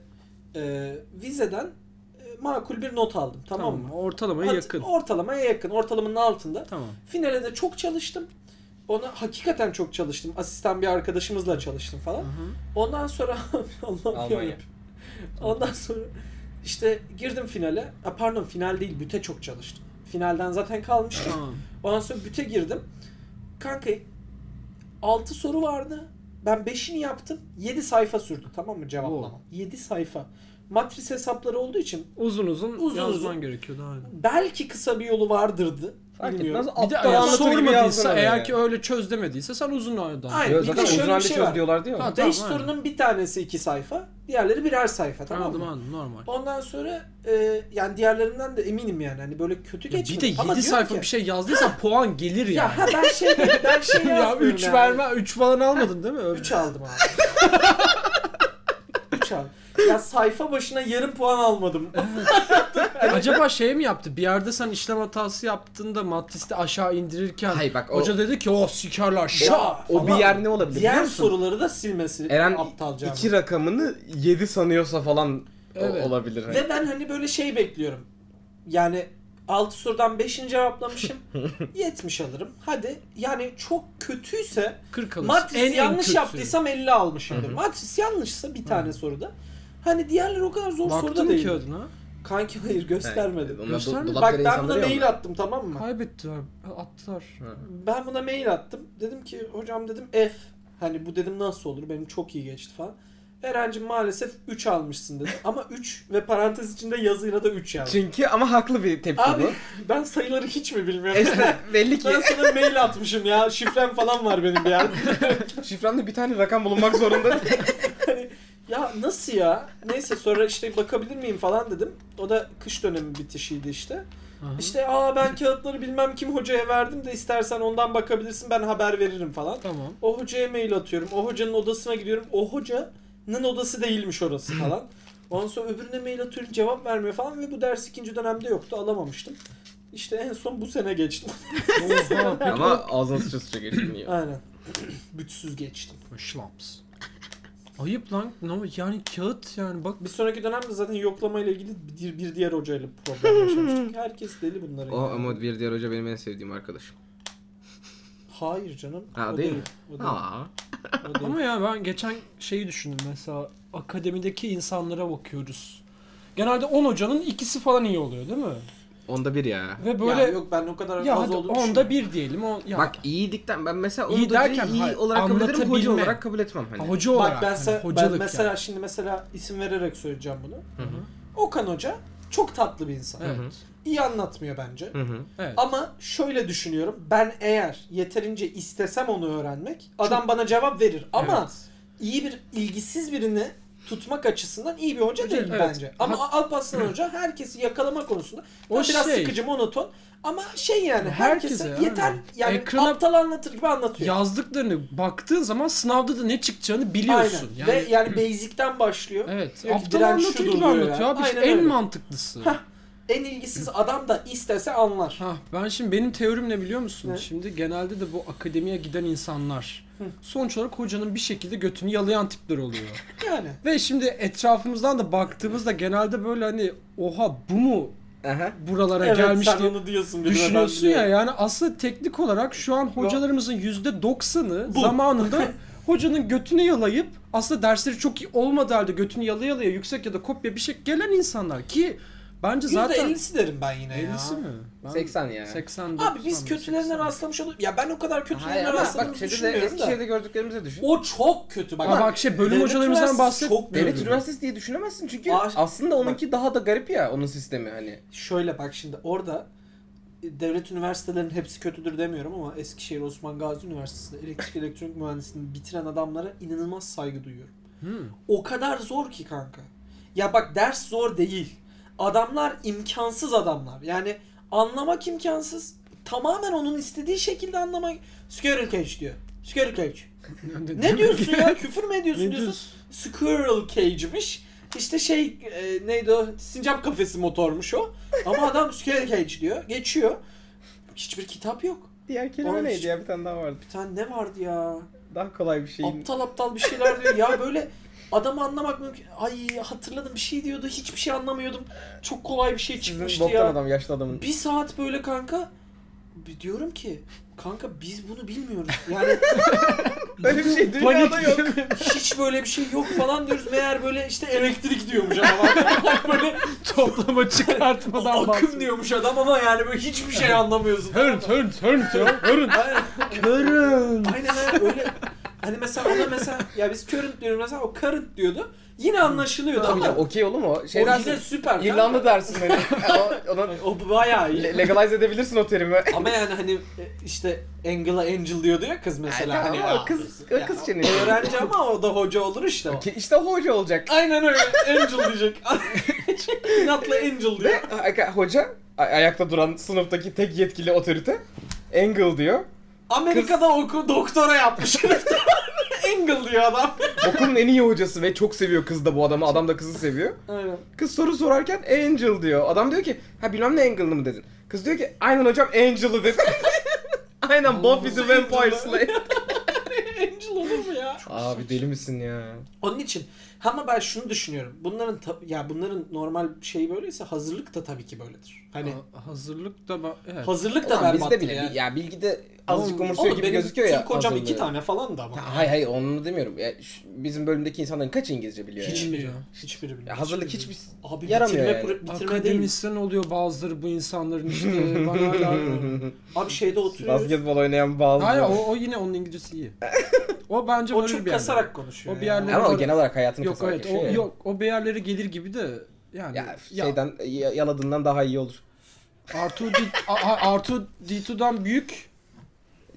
[SPEAKER 1] e, vizeden e, makul bir not aldım tamam, mı?
[SPEAKER 3] Ortalamaya
[SPEAKER 1] Hat-
[SPEAKER 3] yakın.
[SPEAKER 1] Ortalamaya yakın. Ortalamanın altında.
[SPEAKER 3] Tamam.
[SPEAKER 1] Finale de çok çalıştım. Ona hakikaten çok çalıştım. Asistan bir arkadaşımızla çalıştım falan.
[SPEAKER 3] Hı-hı.
[SPEAKER 1] Ondan sonra Allah'ım
[SPEAKER 2] Almanya.
[SPEAKER 1] yarabbim. Ondan sonra işte girdim finale. Ha, pardon final değil büte çok çalıştım. Finalden zaten kalmıştım.
[SPEAKER 3] Tamam.
[SPEAKER 1] Ondan sonra büte girdim. Kanka 6 soru vardı. Ben 5'ini yaptım. 7 sayfa sürdü tamam mı cevaplama?
[SPEAKER 3] Oo.
[SPEAKER 1] 7 sayfa. Matris hesapları olduğu için
[SPEAKER 3] Uzun uzun,
[SPEAKER 1] Uzun
[SPEAKER 3] yazman
[SPEAKER 1] uzun.
[SPEAKER 3] gerekiyordu aynen.
[SPEAKER 1] belki kısa bir yolu vardırdı.
[SPEAKER 2] Fark
[SPEAKER 1] Bilmiyorum.
[SPEAKER 2] etmez.
[SPEAKER 3] Bir de
[SPEAKER 2] Aptal
[SPEAKER 3] eğer
[SPEAKER 2] anlatır gibi yazdın
[SPEAKER 3] sormadıysa
[SPEAKER 2] oraya.
[SPEAKER 3] eğer ki öyle çöz demediyse sen uzun aydan.
[SPEAKER 1] Aynen.
[SPEAKER 2] Yo,
[SPEAKER 1] Bir de
[SPEAKER 2] zaten
[SPEAKER 1] şöyle
[SPEAKER 2] uzun
[SPEAKER 1] bir
[SPEAKER 2] halde
[SPEAKER 1] şey
[SPEAKER 2] çöz
[SPEAKER 1] var.
[SPEAKER 2] diyorlar diyor.
[SPEAKER 3] Ha,
[SPEAKER 1] 5
[SPEAKER 3] Tamam, aynen.
[SPEAKER 1] sorunun bir tanesi 2 sayfa. Diğerleri birer sayfa tamam
[SPEAKER 3] Anladım
[SPEAKER 1] mı?
[SPEAKER 3] anladım normal.
[SPEAKER 1] Ondan sonra e, yani diğerlerinden de eminim yani. Hani böyle kötü
[SPEAKER 3] Ya bir
[SPEAKER 1] geçmedi.
[SPEAKER 3] de
[SPEAKER 1] Ama
[SPEAKER 3] 7
[SPEAKER 1] diyorum
[SPEAKER 3] sayfa
[SPEAKER 1] ki,
[SPEAKER 3] bir şey yazdıysa puan gelir yani.
[SPEAKER 1] Ya ha, ben şey ben şey
[SPEAKER 3] ya
[SPEAKER 1] yazmıyorum
[SPEAKER 3] 3
[SPEAKER 1] yani.
[SPEAKER 3] verme 3 falan almadın değil mi? Öyle.
[SPEAKER 1] 3 aldım abi. 3 aldım. Ya sayfa başına yarım puan almadım.
[SPEAKER 3] Acaba şey mi yaptı? Bir yerde sen işlem hatası yaptığında matriste aşağı indirirken
[SPEAKER 2] Hayır bak o-
[SPEAKER 3] hoca dedi ki oh sikerler şa.
[SPEAKER 1] Ya,
[SPEAKER 2] O bir
[SPEAKER 1] falan.
[SPEAKER 2] yer ne olabilir biliyor
[SPEAKER 1] Diğer
[SPEAKER 2] musun?
[SPEAKER 1] soruları da silmesi
[SPEAKER 2] Eren
[SPEAKER 1] aptalca. ama.
[SPEAKER 2] iki rakamını 7 sanıyorsa falan o-
[SPEAKER 3] Evet.
[SPEAKER 2] olabilir.
[SPEAKER 1] Ve ben hani böyle şey bekliyorum. Yani 6 sorudan 5'ini cevaplamışım. 70 alırım. Hadi yani çok kötüyse
[SPEAKER 3] 40 alırsın.
[SPEAKER 1] matris
[SPEAKER 3] En- en
[SPEAKER 1] yanlış
[SPEAKER 3] kötü.
[SPEAKER 1] yaptıysam 50 almışımdır.
[SPEAKER 2] Hı hı.
[SPEAKER 1] Matris yanlışsa bir tane soruda. Hani diğerleri o kadar zor soruda
[SPEAKER 3] Baktın
[SPEAKER 1] değil.
[SPEAKER 3] ki adına.
[SPEAKER 1] Kanki hayır göstermedim.
[SPEAKER 2] Onlar do-
[SPEAKER 3] Göstermedi.
[SPEAKER 2] dolap
[SPEAKER 1] Bak
[SPEAKER 2] yere
[SPEAKER 1] ben buna
[SPEAKER 2] insanları ya
[SPEAKER 1] mail
[SPEAKER 2] onlar.
[SPEAKER 1] attım tamam mı?
[SPEAKER 3] Kaybettiler. Attılar.
[SPEAKER 2] Hı.
[SPEAKER 1] Ben buna mail attım. Dedim ki hocam dedim F. Hani bu dedim nasıl olur? Benim çok iyi geçti falan. Eren'cim maalesef 3 almışsın dedi. Ama 3 ve parantez içinde yazıyla da 3 yazdı.
[SPEAKER 2] Çünkü ama haklı bir tepki
[SPEAKER 1] Abi
[SPEAKER 2] bu.
[SPEAKER 1] ben sayıları hiç mi bilmiyorum?
[SPEAKER 2] Esna belli ki
[SPEAKER 1] ben sana mail atmışım ya. Şifrem falan var benim bir yerde.
[SPEAKER 2] şifremde bir tane rakam bulunmak zorunda.
[SPEAKER 1] Ya nasıl ya? Neyse sonra işte bakabilir miyim falan dedim. O da kış dönemi bitişiydi işte.
[SPEAKER 3] Aha.
[SPEAKER 1] İşte aa ben kağıtları bilmem kim hocaya verdim de istersen ondan bakabilirsin ben haber veririm falan.
[SPEAKER 3] Tamam.
[SPEAKER 1] O hocaya mail atıyorum. O hocanın odasına gidiyorum. O hocanın odası değilmiş orası falan. Ondan sonra öbürüne mail atıyorum cevap vermiyor falan ve bu ders ikinci dönemde yoktu alamamıştım. İşte en son bu sene geçtim.
[SPEAKER 3] Oha. peki
[SPEAKER 2] ama ağzına sıça sıça geçtin ya.
[SPEAKER 1] Aynen. Bütsüz geçtim.
[SPEAKER 3] o- Şlaps. Ayıp lan. No, yani kağıt yani bak.
[SPEAKER 1] Bir sonraki dönemde zaten yoklamayla ilgili bir, bir diğer hocayla problem yaşamıştık. Herkes deli bunların.
[SPEAKER 2] O ama bir diğer hoca benim en sevdiğim arkadaşım.
[SPEAKER 1] Hayır canım.
[SPEAKER 2] Ha,
[SPEAKER 1] o
[SPEAKER 2] değil
[SPEAKER 1] değil.
[SPEAKER 2] mi?
[SPEAKER 1] O değil.
[SPEAKER 2] Aa.
[SPEAKER 1] O değil.
[SPEAKER 3] Ama ya ben geçen şeyi düşündüm mesela akademideki insanlara bakıyoruz. Genelde 10 hocanın ikisi falan iyi oluyor değil mi?
[SPEAKER 2] Onda bir ya.
[SPEAKER 3] Ve
[SPEAKER 1] Ya
[SPEAKER 3] böyle
[SPEAKER 1] yok ben o kadar
[SPEAKER 3] ya,
[SPEAKER 1] az
[SPEAKER 3] hadi
[SPEAKER 1] olduğunu
[SPEAKER 3] onda bir diyelim. O, ya,
[SPEAKER 2] Bak iyilikten ben mesela
[SPEAKER 3] İyi
[SPEAKER 2] onu da
[SPEAKER 3] derken,
[SPEAKER 2] iyi
[SPEAKER 3] hayır,
[SPEAKER 2] olarak kabul ederim hoca
[SPEAKER 3] anlatabilme.
[SPEAKER 2] olarak kabul etmem hani.
[SPEAKER 3] hoca olarak.
[SPEAKER 1] Bak ben,
[SPEAKER 3] hani
[SPEAKER 1] se- ben
[SPEAKER 3] hocalık
[SPEAKER 1] mesela
[SPEAKER 3] yani.
[SPEAKER 1] şimdi mesela isim vererek söyleyeceğim bunu.
[SPEAKER 2] Hı hı.
[SPEAKER 1] Okan Hoca çok tatlı bir insan.
[SPEAKER 3] Evet.
[SPEAKER 2] Hı hı.
[SPEAKER 1] İyi anlatmıyor bence.
[SPEAKER 2] Hı hı.
[SPEAKER 3] Evet.
[SPEAKER 1] Ama şöyle düşünüyorum. Ben eğer yeterince istesem onu öğrenmek adam bana cevap verir. Ama iyi bir ilgisiz birini tutmak açısından iyi bir hoca
[SPEAKER 3] Hoca,
[SPEAKER 1] değil
[SPEAKER 3] evet.
[SPEAKER 1] bence. Ama Alparslan Hoca herkesi yakalama konusunda
[SPEAKER 3] O
[SPEAKER 1] o biraz
[SPEAKER 3] şey-
[SPEAKER 1] sıkıcı monoton ama şey yani
[SPEAKER 3] Herkese
[SPEAKER 1] herkese,
[SPEAKER 3] yani.
[SPEAKER 1] yeter yani
[SPEAKER 3] Ekrana-
[SPEAKER 1] aptal anlatır gibi anlatıyor.
[SPEAKER 3] yazdıklarını baktığın zaman sınavda da ne çıkacağını biliyorsun.
[SPEAKER 1] Aynen.
[SPEAKER 3] Yani
[SPEAKER 1] Ve yani basic'ten başlıyor.
[SPEAKER 3] evet.
[SPEAKER 1] Diyor ki,
[SPEAKER 3] Aptal
[SPEAKER 1] "Direnç
[SPEAKER 3] anlatır
[SPEAKER 1] şudur"
[SPEAKER 3] gibi
[SPEAKER 1] diyor
[SPEAKER 3] anlatıyor
[SPEAKER 1] yani.
[SPEAKER 3] abi. İşte
[SPEAKER 1] Aynen
[SPEAKER 3] en
[SPEAKER 1] öyle.
[SPEAKER 3] mantıklısı.
[SPEAKER 1] En ilgisiz adam da istese anlar.
[SPEAKER 3] Ha, ben şimdi benim teorim ne biliyor musun?
[SPEAKER 1] Ne?
[SPEAKER 3] Şimdi genelde de bu akademiye giden insanlar sonuç olarak hocanın bir şekilde götünü yalayan tipler oluyor.
[SPEAKER 1] Yani.
[SPEAKER 3] Ve şimdi etrafımızdan da baktığımızda genelde böyle hani oha bu mu
[SPEAKER 2] Aha.
[SPEAKER 3] buralara
[SPEAKER 1] Evet
[SPEAKER 3] gelmiş
[SPEAKER 1] sen
[SPEAKER 3] diye
[SPEAKER 1] onu diyorsun. birine, ben
[SPEAKER 3] düşünüyorsun ya
[SPEAKER 1] biliyorum.
[SPEAKER 3] yani aslında teknik olarak şu an hocalarımızın %90'ı
[SPEAKER 1] Bu.
[SPEAKER 3] zamanında hocanın götünü yalayıp aslında dersleri çok iyi olmadığı halde götünü yalaya yalaya yüksek ya da kopya bir şey gelen insanlar ki bence zaten
[SPEAKER 1] %50'si derim ben yine ya.
[SPEAKER 3] 50'si mi? Ben
[SPEAKER 2] 80 ya.
[SPEAKER 3] 80
[SPEAKER 1] Abi biz kötülerine
[SPEAKER 3] 80.
[SPEAKER 1] rastlamış olup ya ben o kadar
[SPEAKER 2] Hayır
[SPEAKER 1] kötülerine
[SPEAKER 2] ama bak
[SPEAKER 1] rastladığımızı
[SPEAKER 2] şeyde de
[SPEAKER 1] düşünmüyorum da.
[SPEAKER 2] Eskişehir'de gördüklerimizi düşün.
[SPEAKER 1] O çok kötü. Bak,
[SPEAKER 3] Ama bak şey, bölüm
[SPEAKER 1] devlet
[SPEAKER 3] hocalarımızdan
[SPEAKER 1] üniversitesi
[SPEAKER 3] bahset-
[SPEAKER 1] Çok
[SPEAKER 2] Devlet
[SPEAKER 1] kötü.
[SPEAKER 2] üniversitesi diye düşünemezsin çünkü
[SPEAKER 1] Aa,
[SPEAKER 2] aslında onunki daha da garip ya onun sistemi hani.
[SPEAKER 1] Şöyle bak şimdi orada e, devlet üniversitelerinin hepsi kötüdür demiyorum ama Eskişehir Osman Gazi Üniversitesi'nde elektrik elektronik mühendisliğini bitiren adamlara inanılmaz saygı duyuyorum.
[SPEAKER 3] Hmm.
[SPEAKER 1] O kadar zor ki kanka. Ya bak ders zor değil. Adamlar imkansız adamlar. Yani anlamak imkansız. Tamamen onun istediği şekilde anlamak. Squirrel cage diyor. Squirrel cage. Ne diyorsun ya? Küfür mü ediyorsun
[SPEAKER 3] Ne
[SPEAKER 1] diyorsun?
[SPEAKER 3] diyorsun?
[SPEAKER 1] Squirrel Cage'miş. İşte şey e, neydi o? Sincap kafesi motormuş o. Ama adam Squirrel Cage diyor. Geçiyor. Hiçbir kitap yok.
[SPEAKER 2] Diğer
[SPEAKER 1] kelime Oğlum, neydi
[SPEAKER 2] ya bir tane daha vardı.
[SPEAKER 1] Bir tane ne vardı ya?
[SPEAKER 2] Daha kolay bir şeyin.
[SPEAKER 1] Aptal aptal bir şeyler diyor. Ya böyle adamı anlamak mümkün. Ay hatırladım bir şey diyordu. Hiçbir şey anlamıyordum. Çok kolay bir şey çıkmıştı
[SPEAKER 2] boktan
[SPEAKER 1] ya.
[SPEAKER 2] adam yaşlı adamın.
[SPEAKER 1] Bir saat böyle kanka bir diyorum ki kanka biz bunu bilmiyoruz. Yani
[SPEAKER 2] Öyle bir şey dünyada yok.
[SPEAKER 1] hiç böyle bir şey yok falan diyoruz. Meğer böyle işte elektrik diyormuş ama böyle
[SPEAKER 3] Toplama çıkartmadan
[SPEAKER 1] akım diyormuş adam ama yani böyle hiçbir şey anlamıyorsun.
[SPEAKER 3] Hörn hörn hörn hörn.
[SPEAKER 1] Aynen,
[SPEAKER 3] Hörn.
[SPEAKER 1] aynen aynen öyle. Hani mesela ona mesela ya biz current diyoruz mesela o current diyordu. Yine anlaşılıyordu
[SPEAKER 2] Tabii
[SPEAKER 1] ama
[SPEAKER 2] canım okey oğlum o.
[SPEAKER 1] o
[SPEAKER 2] Şey
[SPEAKER 1] yine
[SPEAKER 2] dersin.
[SPEAKER 1] süper. kanka.
[SPEAKER 2] İrlanda dersin hani. o, ona
[SPEAKER 1] o bayağı iyi.
[SPEAKER 2] le- legalize edebilirsin o terimi.
[SPEAKER 1] ama yani hani e, işte Angela Angel diyordu ya kız mesela.
[SPEAKER 2] Aynen,
[SPEAKER 1] Hani
[SPEAKER 2] ama
[SPEAKER 1] ya,
[SPEAKER 2] kız-
[SPEAKER 1] ya,
[SPEAKER 2] kız çenesi.
[SPEAKER 1] Öğrenci ama o da hoca olur işte. o.
[SPEAKER 2] Ki işte hoca olacak.
[SPEAKER 1] Aynen öyle. Angel diyecek. İnatla Angel diyor.
[SPEAKER 2] Ve a- a- hoca a- ayakta duran sınıftaki tek yetkili otorite Angle diyor.
[SPEAKER 1] Amerika'da oku doktora yapmış. Engel diyor adam.
[SPEAKER 2] Okulun en iyi hocası ve çok seviyor kız da bu adamı. Adam da kızı seviyor.
[SPEAKER 1] Aynen.
[SPEAKER 2] Kız soru sorarken Angel diyor. Adam diyor ki ha bilmem ne Angle'ını mı dedin? Kız diyor ki aynen hocam Angel'ı dedi. aynen Buffy the Vampire Slayer.
[SPEAKER 1] Angel olur mu ya?
[SPEAKER 2] Abi deli misin ya?
[SPEAKER 1] Onun için ama ben şunu düşünüyorum. Bunların ta- ya bunların normal şey böyleyse hazırlık da tabii ki böyledir. Hani
[SPEAKER 3] Hani hazırlık da ba- evet.
[SPEAKER 1] hazırlık da
[SPEAKER 2] Ulan
[SPEAKER 1] berbattır
[SPEAKER 2] bizde bile
[SPEAKER 1] yani.
[SPEAKER 2] ya bilgide azıcık
[SPEAKER 3] Oğlum,
[SPEAKER 2] umursuyor
[SPEAKER 1] Oğlum
[SPEAKER 2] gibi
[SPEAKER 1] benim
[SPEAKER 2] gözüküyor ya.
[SPEAKER 1] Türk hocam
[SPEAKER 2] azınlığı.
[SPEAKER 1] iki tane falan da ama.
[SPEAKER 2] Ya, Hayır hayır onu demiyorum. Ya, şu- bizim bölümdeki insanların kaç İngilizce biliyor
[SPEAKER 1] Hiç
[SPEAKER 2] yani?
[SPEAKER 1] mi ya?
[SPEAKER 3] bilmiyor.
[SPEAKER 1] Hiçbiri bilmiyor.
[SPEAKER 2] Ya, hazırlık
[SPEAKER 1] hiçbiri
[SPEAKER 2] hiçbir... şey
[SPEAKER 1] bilmiyor. Abi
[SPEAKER 2] yaramıyor
[SPEAKER 1] bitirme,
[SPEAKER 2] yani.
[SPEAKER 1] pro- bitirme değil.
[SPEAKER 3] Akademisyen oluyor bazıları bu insanların işte bana hala
[SPEAKER 1] Abi şeyde oturuyoruz.
[SPEAKER 2] Basketbol oynayan bazı.
[SPEAKER 3] Hayır o, o yine onun İngilizcesi iyi. O bence
[SPEAKER 1] O
[SPEAKER 3] varır
[SPEAKER 1] çok
[SPEAKER 3] bir yerlere.
[SPEAKER 1] kasarak konuşuyor.
[SPEAKER 3] O
[SPEAKER 1] ya.
[SPEAKER 3] bir yerlere-
[SPEAKER 2] Ama o genel olarak hayatını
[SPEAKER 3] Yok
[SPEAKER 2] kasarak
[SPEAKER 3] evet
[SPEAKER 2] yaşıyor
[SPEAKER 3] o
[SPEAKER 2] ya.
[SPEAKER 3] yok o bir yerlere gelir gibi de yani
[SPEAKER 2] Ya
[SPEAKER 3] ya,
[SPEAKER 2] şeyden ya- yaladığından daha iyi olur.
[SPEAKER 3] R2 D A- A- R2 D2'dan büyük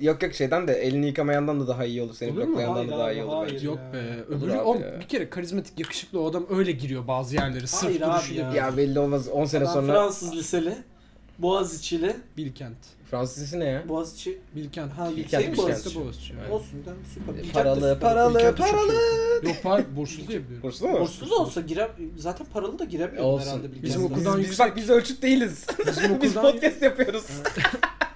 [SPEAKER 2] Yok yok şeyden de elini yıkamayandan da daha iyi olur. Seni
[SPEAKER 3] Olur mu?
[SPEAKER 2] bloklayandan
[SPEAKER 1] Hayır
[SPEAKER 2] da daha
[SPEAKER 1] abi,
[SPEAKER 2] iyi olur.
[SPEAKER 1] hayır.
[SPEAKER 2] bence.
[SPEAKER 3] yok
[SPEAKER 1] ya.
[SPEAKER 3] be.
[SPEAKER 2] Olur
[SPEAKER 3] Öbürü
[SPEAKER 2] abi
[SPEAKER 3] o
[SPEAKER 2] ya.
[SPEAKER 3] bir kere karizmatik yakışıklı o adam öyle giriyor bazı yerlere sırf
[SPEAKER 1] Hayır abi
[SPEAKER 3] duruşuyla.
[SPEAKER 1] ya.
[SPEAKER 2] Ya belli olmaz 10 sene
[SPEAKER 1] Adam
[SPEAKER 2] sonra
[SPEAKER 1] Fransız liseli. Boğaziçi'li.
[SPEAKER 3] Bilkent.
[SPEAKER 2] Fransız ne ya?
[SPEAKER 1] Boğaziçi
[SPEAKER 3] Bilkent.
[SPEAKER 1] Ha,
[SPEAKER 2] Bilkent,
[SPEAKER 3] Bilkent.
[SPEAKER 2] Bilkent.
[SPEAKER 3] Boğaziçi. Boğaziçi.
[SPEAKER 2] Evet.
[SPEAKER 1] olsun da süper. Bilkent de
[SPEAKER 2] Paralı
[SPEAKER 1] süper.
[SPEAKER 2] paralı
[SPEAKER 3] Bilkent'e çok
[SPEAKER 2] paralı.
[SPEAKER 3] Yok hayır burslu diye biliyorum.
[SPEAKER 2] Burslu mu?
[SPEAKER 1] Burslu da olsa girer, zaten paralı da giremiyor
[SPEAKER 2] E, Olsun.
[SPEAKER 1] herhalde Bilkent'e.
[SPEAKER 3] Bizim
[SPEAKER 2] Biz,
[SPEAKER 3] okuldan
[SPEAKER 2] biz
[SPEAKER 3] yüksek-
[SPEAKER 2] bak biz ölçüt değiliz.
[SPEAKER 3] Bizim
[SPEAKER 2] biz
[SPEAKER 3] okuldan,
[SPEAKER 2] podcast yapıyoruz.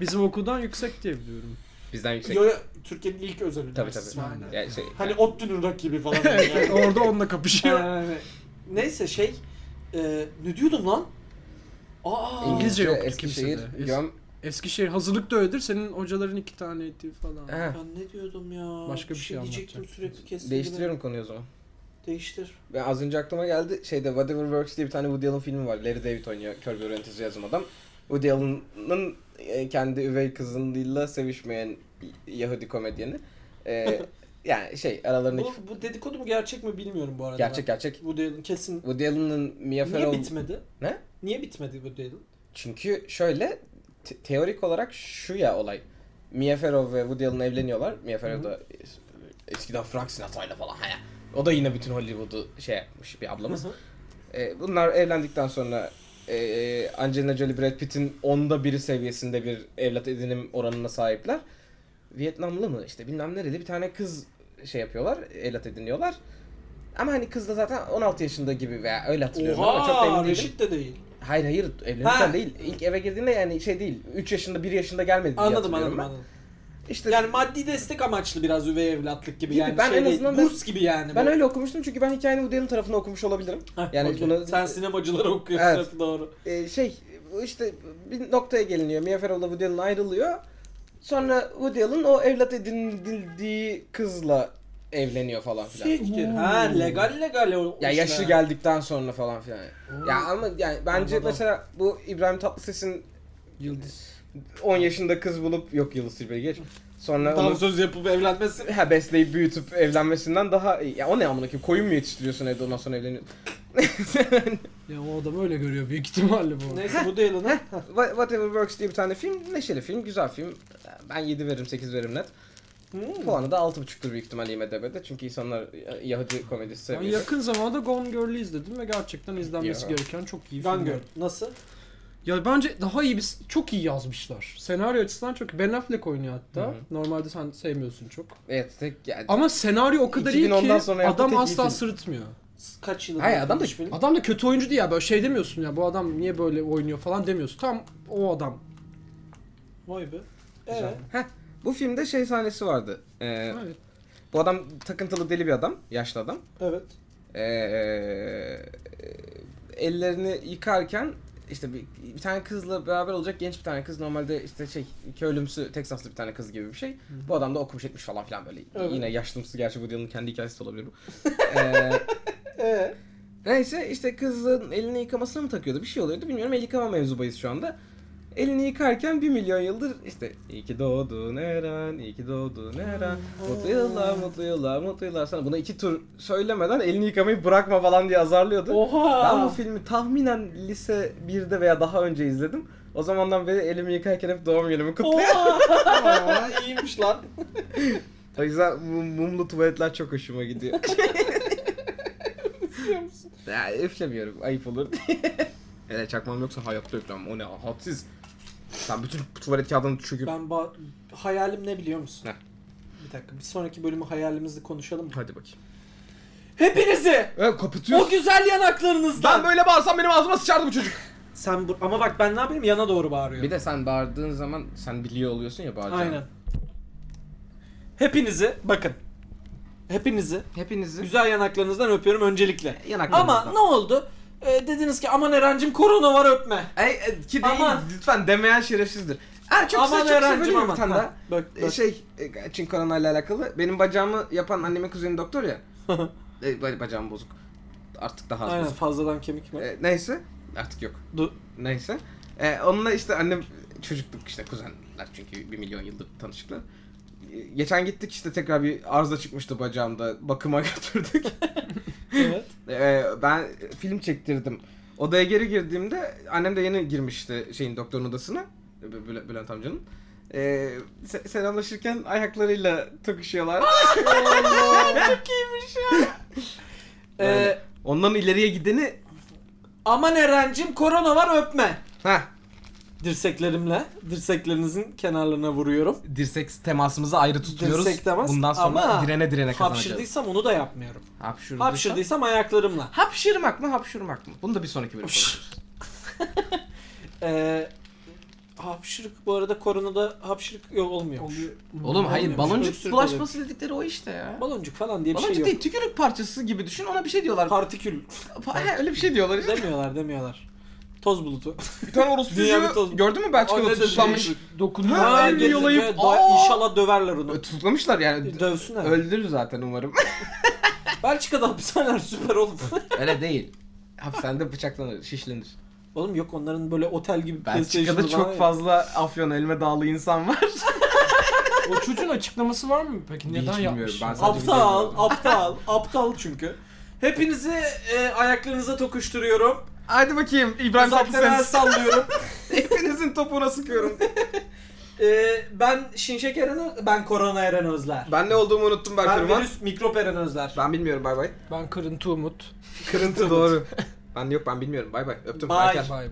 [SPEAKER 3] bizim okuldan yüksek diye biliyorum.
[SPEAKER 2] Bizden
[SPEAKER 1] Yo, yo, Türkiye'nin ilk özel üniversitesi.
[SPEAKER 3] Aynen.
[SPEAKER 2] Ya şey,
[SPEAKER 1] Hani ODTÜ'nün rakibi falan.
[SPEAKER 3] Evet,
[SPEAKER 1] yani.
[SPEAKER 3] orada onunla kapışıyor.
[SPEAKER 1] Yani. Neyse şey, e, ne diyordum lan? Aa,
[SPEAKER 3] İngiliz- İngilizce yoktu
[SPEAKER 2] Eskişehir,
[SPEAKER 3] kimsede.
[SPEAKER 2] Göm.
[SPEAKER 3] Eskişehir hazırlıkta öyledir. Senin hocaların iki taneydi falan.
[SPEAKER 2] Ha,
[SPEAKER 1] ben ne diyordum ya?
[SPEAKER 3] Başka bir şey
[SPEAKER 1] diyecektim
[SPEAKER 3] anlatacaktım.
[SPEAKER 1] sürekli kestim.
[SPEAKER 2] değiştiriyorum konuyu o zaman.
[SPEAKER 1] beni. Değiştir.
[SPEAKER 2] Ve az önce aklıma geldi şeyde Whatever Works diye bir tane Woody Allen filmi var. Larry David oynuyor. Kör bir yönetici yazım adam. Woody Allen'ın e, kendi üvey kızıyla sevişmeyen Yahudi komedyeni. E, yani şey aralarındaki...
[SPEAKER 1] Bu, bu dedikodu mu gerçek mi bilmiyorum bu arada.
[SPEAKER 2] gerçek gerçek.
[SPEAKER 1] Ben. Bu Dylan kesin.
[SPEAKER 2] Woody Allen'ın Mia
[SPEAKER 1] Niye
[SPEAKER 2] Farrow...
[SPEAKER 1] bitmedi?
[SPEAKER 2] Ne?
[SPEAKER 1] Niye bitmedi bu Dylan?
[SPEAKER 2] Çünkü şöyle te- teorik olarak şu ya olay. Mia Farrow ve Woody Allen evleniyorlar. Mia Farrow da es- eskiden Frank Sinatra'yla falan. Ha ya. O da yine bütün Hollywood'u şey yapmış bir ablamız.
[SPEAKER 1] Hı hı.
[SPEAKER 2] E, bunlar evlendikten sonra e, Angelina Jolie Brad Pitt'in onda biri seviyesinde bir evlat edinim oranına sahipler. Vietnamlı mı işte bilmem nereli bir tane kız şey yapıyorlar, evlat ediniyorlar. Ama hani kız da zaten 16 yaşında gibi veya öyle hatırlıyorum ama çok da
[SPEAKER 1] Oha,
[SPEAKER 2] emin değilim.
[SPEAKER 1] Reşit de değil.
[SPEAKER 2] Hayır hayır evlenirken
[SPEAKER 1] Ha.
[SPEAKER 2] değil. İlk eve girdiğinde yani şey değil. 3 yaşında 1 yaşında gelmedi diye
[SPEAKER 1] Anladım
[SPEAKER 2] hatırlıyorum
[SPEAKER 1] anladım
[SPEAKER 2] ben.
[SPEAKER 1] anladım.
[SPEAKER 2] İşte
[SPEAKER 1] Yani maddi destek amaçlı biraz üvey evlatlık gibi,
[SPEAKER 2] Gibi,
[SPEAKER 1] yani
[SPEAKER 2] ben
[SPEAKER 1] şey
[SPEAKER 2] en
[SPEAKER 1] değil,
[SPEAKER 2] azından ben-
[SPEAKER 1] burs gibi yani.
[SPEAKER 2] ben
[SPEAKER 1] bu.
[SPEAKER 2] öyle okumuştum çünkü ben hikayenin Woody Allen tarafını okumuş olabilirim.
[SPEAKER 1] Heh,
[SPEAKER 2] yani
[SPEAKER 1] okey.
[SPEAKER 2] bunu-
[SPEAKER 1] sen sinemacıları okuyorsun
[SPEAKER 2] Evet.
[SPEAKER 1] evet. doğru.
[SPEAKER 2] Ee, şey bu işte bir noktaya geliniyor. Mia Farrow'la Woody Allen ayrılıyor. Sonra Woody Allen o evlat edinildiği kızla evleniyor falan filan.
[SPEAKER 1] Siktir. Ha legal legal o
[SPEAKER 2] Ya
[SPEAKER 1] işler.
[SPEAKER 2] yaşlı geldikten sonra falan filan. Ya ama yani bence
[SPEAKER 1] Anladım.
[SPEAKER 2] mesela bu İbrahim Tatlıses'in
[SPEAKER 3] Yıldız.
[SPEAKER 2] 10 yaşında kız bulup yok Yıldız Tilbe'yi geç. Sonra onu-
[SPEAKER 1] Dansöz yapıp evlenmesi.
[SPEAKER 2] Ha besleyip büyütüp evlenmesinden daha iyi. Ya o ne amına koyayım koyun mu yetiştiriyorsun evde ondan sonra evleniyorsun?
[SPEAKER 3] Ya o adam öyle görüyor büyük ihtimalle bu.
[SPEAKER 1] Neyse bu değil lan.
[SPEAKER 2] Wha- Whatever Works diye bir tane film. Neşeli film, güzel film. Ben 7 veririm, 8 veririm net.
[SPEAKER 3] Hmm.
[SPEAKER 2] Puanı da 6.5'tur büyük ihtimalle IMDB'de. Çünkü insanlar Yahudi komedisi
[SPEAKER 3] Ben
[SPEAKER 2] seviyor.
[SPEAKER 3] yakın zamanda Gone Girl'ü izledim ve gerçekten izlenmesi
[SPEAKER 2] Ya.
[SPEAKER 3] gereken çok iyi film.
[SPEAKER 1] Gone Girl. Nasıl?
[SPEAKER 3] Ya bence daha iyi bir, çok iyi yazmışlar. Senaryo açısından çok Ben Affleck oynuyor hatta.
[SPEAKER 2] Hı hı.
[SPEAKER 3] Normalde sen sevmiyorsun çok.
[SPEAKER 2] Evet, tek yani.
[SPEAKER 3] Ama senaryo o kadar iyi
[SPEAKER 2] 2010'dan
[SPEAKER 3] ki
[SPEAKER 2] sonra yaptığı
[SPEAKER 3] adam
[SPEAKER 2] tek iyi film.
[SPEAKER 3] asla sırıtmıyor.
[SPEAKER 1] Kaç yılında?
[SPEAKER 2] Hayır, adam da-
[SPEAKER 1] yapılmış film?
[SPEAKER 3] Adam da kötü oyuncu değil ya böyle şey demiyorsun ya bu adam niye böyle oynuyor falan demiyorsun. Tam o adam.
[SPEAKER 1] Vay be.
[SPEAKER 2] Güzel.
[SPEAKER 1] Ee,
[SPEAKER 2] Heh, bu filmde şey sahnesi vardı. Ee,
[SPEAKER 3] Evet.
[SPEAKER 2] bu adam takıntılı deli bir adam, yaşlı adam.
[SPEAKER 1] evet.
[SPEAKER 2] Ee, e, ellerini yıkarken işte bir, bir tane kızla beraber olacak genç bir tane kız normalde işte şey köylümsü Teksaslı bir tane kız gibi bir şey. Bu adam da okumuş etmiş falan filan böyle.
[SPEAKER 1] Evet.
[SPEAKER 2] Yine yaşlımsı gerçi bu yılın kendi hikayesi de olabilir bu. Ee,
[SPEAKER 1] Ee,
[SPEAKER 2] neyse işte kızın elini yıkamasına mı takıyordu bir şey oluyordu bilmiyorum el yıkama mevzubayız şu anda. Elini yıkarken bir milyon yıldır işte iyi ki doğdun Eren, iyi ki doğdun Eren. Mutlu yıllar, mutlu yıllar, mutlu yıllar sana. Buna iki tur söylemeden elini yıkamayı bırakma falan diye azarlıyordu.
[SPEAKER 1] oha.
[SPEAKER 2] Ben bu filmi tahminen lise 1'de veya daha önce izledim. O zamandan beri elimi yıkarken hep doğum günümü kutluyorum.
[SPEAKER 1] Oha. İyiymiş lan.
[SPEAKER 2] O yüzden mum- mumlu tuvaletler çok hoşuma gidiyor. ya üflemiyorum ayıp olur diye. Hele çakmam yoksa hayatta üflemem. O ne hadsiz. Sen bütün tuvalet kağıdını çöküp...
[SPEAKER 1] Ben ba- hayalim ne biliyor musun?
[SPEAKER 2] Ne?
[SPEAKER 1] Bir dakika bir sonraki bölümü hayalimizle konuşalım mı?
[SPEAKER 2] Hadi bakayım.
[SPEAKER 1] Hepinizi
[SPEAKER 2] E,
[SPEAKER 1] o
[SPEAKER 2] kapatıyorsun.
[SPEAKER 1] güzel yanaklarınızdan.
[SPEAKER 2] Ben böyle bağırsam benim ağzıma sıçardı bu çocuk.
[SPEAKER 1] Sen bu- ama bak ben ne yapayım yana doğru bağırıyorum.
[SPEAKER 2] Bir de sen bağırdığın zaman sen biliyor oluyorsun ya bağıracağını.
[SPEAKER 1] Aynen. Hepinizi bakın. Hepinizi
[SPEAKER 2] Hepinizi
[SPEAKER 1] güzel yanaklarınızdan öpüyorum öncelikle.
[SPEAKER 2] E, yanaklarınızdan.
[SPEAKER 1] Ama ne oldu? E, dediniz ki aman Eren'cim korona var öpme.
[SPEAKER 2] Ay, e, ki değil,
[SPEAKER 1] Aman.
[SPEAKER 2] lütfen demeyen şerefsizdir. Er çok
[SPEAKER 1] aman
[SPEAKER 2] kısa çok kısa
[SPEAKER 1] Eren'cim
[SPEAKER 2] bölüm bir
[SPEAKER 1] aman.
[SPEAKER 2] tane
[SPEAKER 1] Ha,
[SPEAKER 2] daha.
[SPEAKER 1] Bak,
[SPEAKER 2] E,
[SPEAKER 1] bak.
[SPEAKER 2] Şey, e, Çin koronayla alakalı. Benim bacağımı yapan annemin kuzeni doktor ya. E, ba- bacağım bozuk. Artık daha az
[SPEAKER 1] Aynen
[SPEAKER 2] bozuk.
[SPEAKER 1] fazladan kemik mi?
[SPEAKER 2] E, neyse. Artık yok.
[SPEAKER 1] Du-
[SPEAKER 2] Neyse. E, onunla işte annem çocukluk işte kuzenler çünkü bir milyon yıldır tanışıklar. E, Geçen gittik işte tekrar bir arıza çıkmıştı bacağımda. Bakıma götürdük.
[SPEAKER 1] evet.
[SPEAKER 2] Ee, ben film çektirdim. Odaya geri girdiğimde annem de yeni girmişti şeyin doktorun odasına. Bü- Bül- Bülent amcanın. Ee, se- selamlaşırken ayaklarıyla tokuşuyorlar. Çok iyiymiş ya. Yani
[SPEAKER 1] E,
[SPEAKER 2] onların ileriye gideni
[SPEAKER 1] aman Eren'cim korona var öpme.
[SPEAKER 2] ha
[SPEAKER 1] Dirseklerimle, dirseklerinizin kenarlarına vuruyorum.
[SPEAKER 2] dirsek temasımızı ayrı tutuyoruz.
[SPEAKER 1] Dirsek temas
[SPEAKER 2] Bundan sonra
[SPEAKER 1] ama
[SPEAKER 2] direne direne kazanacağız.
[SPEAKER 1] Hapşırdıysam onu da yapmıyorum.
[SPEAKER 2] Hapşırdıysam.
[SPEAKER 1] Hapşırdıysam ayaklarımla.
[SPEAKER 2] Hapşırmak mı hapşırmak mı? Bunu da bir sonraki bölümde
[SPEAKER 1] Hapşır.
[SPEAKER 2] konuşuruz.
[SPEAKER 1] Ee, hapşırık bu arada koronada hapşırık yok olmuyormuş.
[SPEAKER 2] Oğlum hayır
[SPEAKER 1] Olmuyormuş,
[SPEAKER 2] baloncuk
[SPEAKER 1] öksürük
[SPEAKER 2] bulaşması dedikleri o işte ya.
[SPEAKER 1] Baloncuk falan diye şey bir
[SPEAKER 2] Baloncuk
[SPEAKER 1] şey yok.
[SPEAKER 2] değil tükürük parçası gibi düşün ona bir şey diyorlar.
[SPEAKER 1] Partikül
[SPEAKER 2] Pa- he, öyle bir şey diyorlar. işte.
[SPEAKER 1] demiyorlar demiyorlar. Toz bulutu.
[SPEAKER 2] Bir tane orospu
[SPEAKER 1] Dünya
[SPEAKER 2] çocuğu
[SPEAKER 1] bir toz-
[SPEAKER 2] gördün mü
[SPEAKER 1] Ay,
[SPEAKER 2] Belçika'da
[SPEAKER 1] ne dedi?
[SPEAKER 2] tutuklanmış.
[SPEAKER 3] Dokunma.
[SPEAKER 2] Ha,
[SPEAKER 1] Ha,
[SPEAKER 2] elini
[SPEAKER 1] gezegen-
[SPEAKER 2] yalayıp-
[SPEAKER 1] da-
[SPEAKER 2] Aa!
[SPEAKER 1] İnşallah döverler onu. E,
[SPEAKER 2] Tutuklamışlar yani.
[SPEAKER 1] Dövsünler.
[SPEAKER 2] Öldürür zaten umarım.
[SPEAKER 1] Belçika'da hapishaneler süper oğlum.
[SPEAKER 2] öyle değil. Hapishanede bıçaklanır, şişlenir.
[SPEAKER 1] oğlum yok onların böyle otel gibi
[SPEAKER 2] Belçika'da
[SPEAKER 1] PlayStation'ı
[SPEAKER 2] çok
[SPEAKER 1] var ya.
[SPEAKER 2] fazla Afyon Elme Dağlı insan var.
[SPEAKER 3] O çocuğun açıklaması var mı peki?
[SPEAKER 2] Hiç
[SPEAKER 3] Neden
[SPEAKER 2] bilmiyorum,
[SPEAKER 3] yapmış?
[SPEAKER 2] ben
[SPEAKER 3] ya?
[SPEAKER 2] sadece-
[SPEAKER 1] Aptal, aptal, aptal çünkü. Hepinizi e, ayaklarınıza tokuşturuyorum.
[SPEAKER 2] Hadi bakayım İbrahim
[SPEAKER 1] Uzaktan el
[SPEAKER 2] Tatlıses.
[SPEAKER 1] sallıyorum.
[SPEAKER 2] Hepinizin topuğuna sıkıyorum.
[SPEAKER 1] Ee, ben Şimşek Eren, Ö- ben Korona Eren Özler.
[SPEAKER 2] ben ne olduğumu unuttum
[SPEAKER 1] Ben,
[SPEAKER 2] Berker Uman.
[SPEAKER 1] virüs, mikrop Eren Özler.
[SPEAKER 2] Ben bilmiyorum bay bay.
[SPEAKER 3] Ben kırıntı umut.
[SPEAKER 2] Kırıntı doğru. Ben yok ben bilmiyorum bay bay. Öptüm
[SPEAKER 1] Bay.
[SPEAKER 2] Berker.
[SPEAKER 3] Bay bay.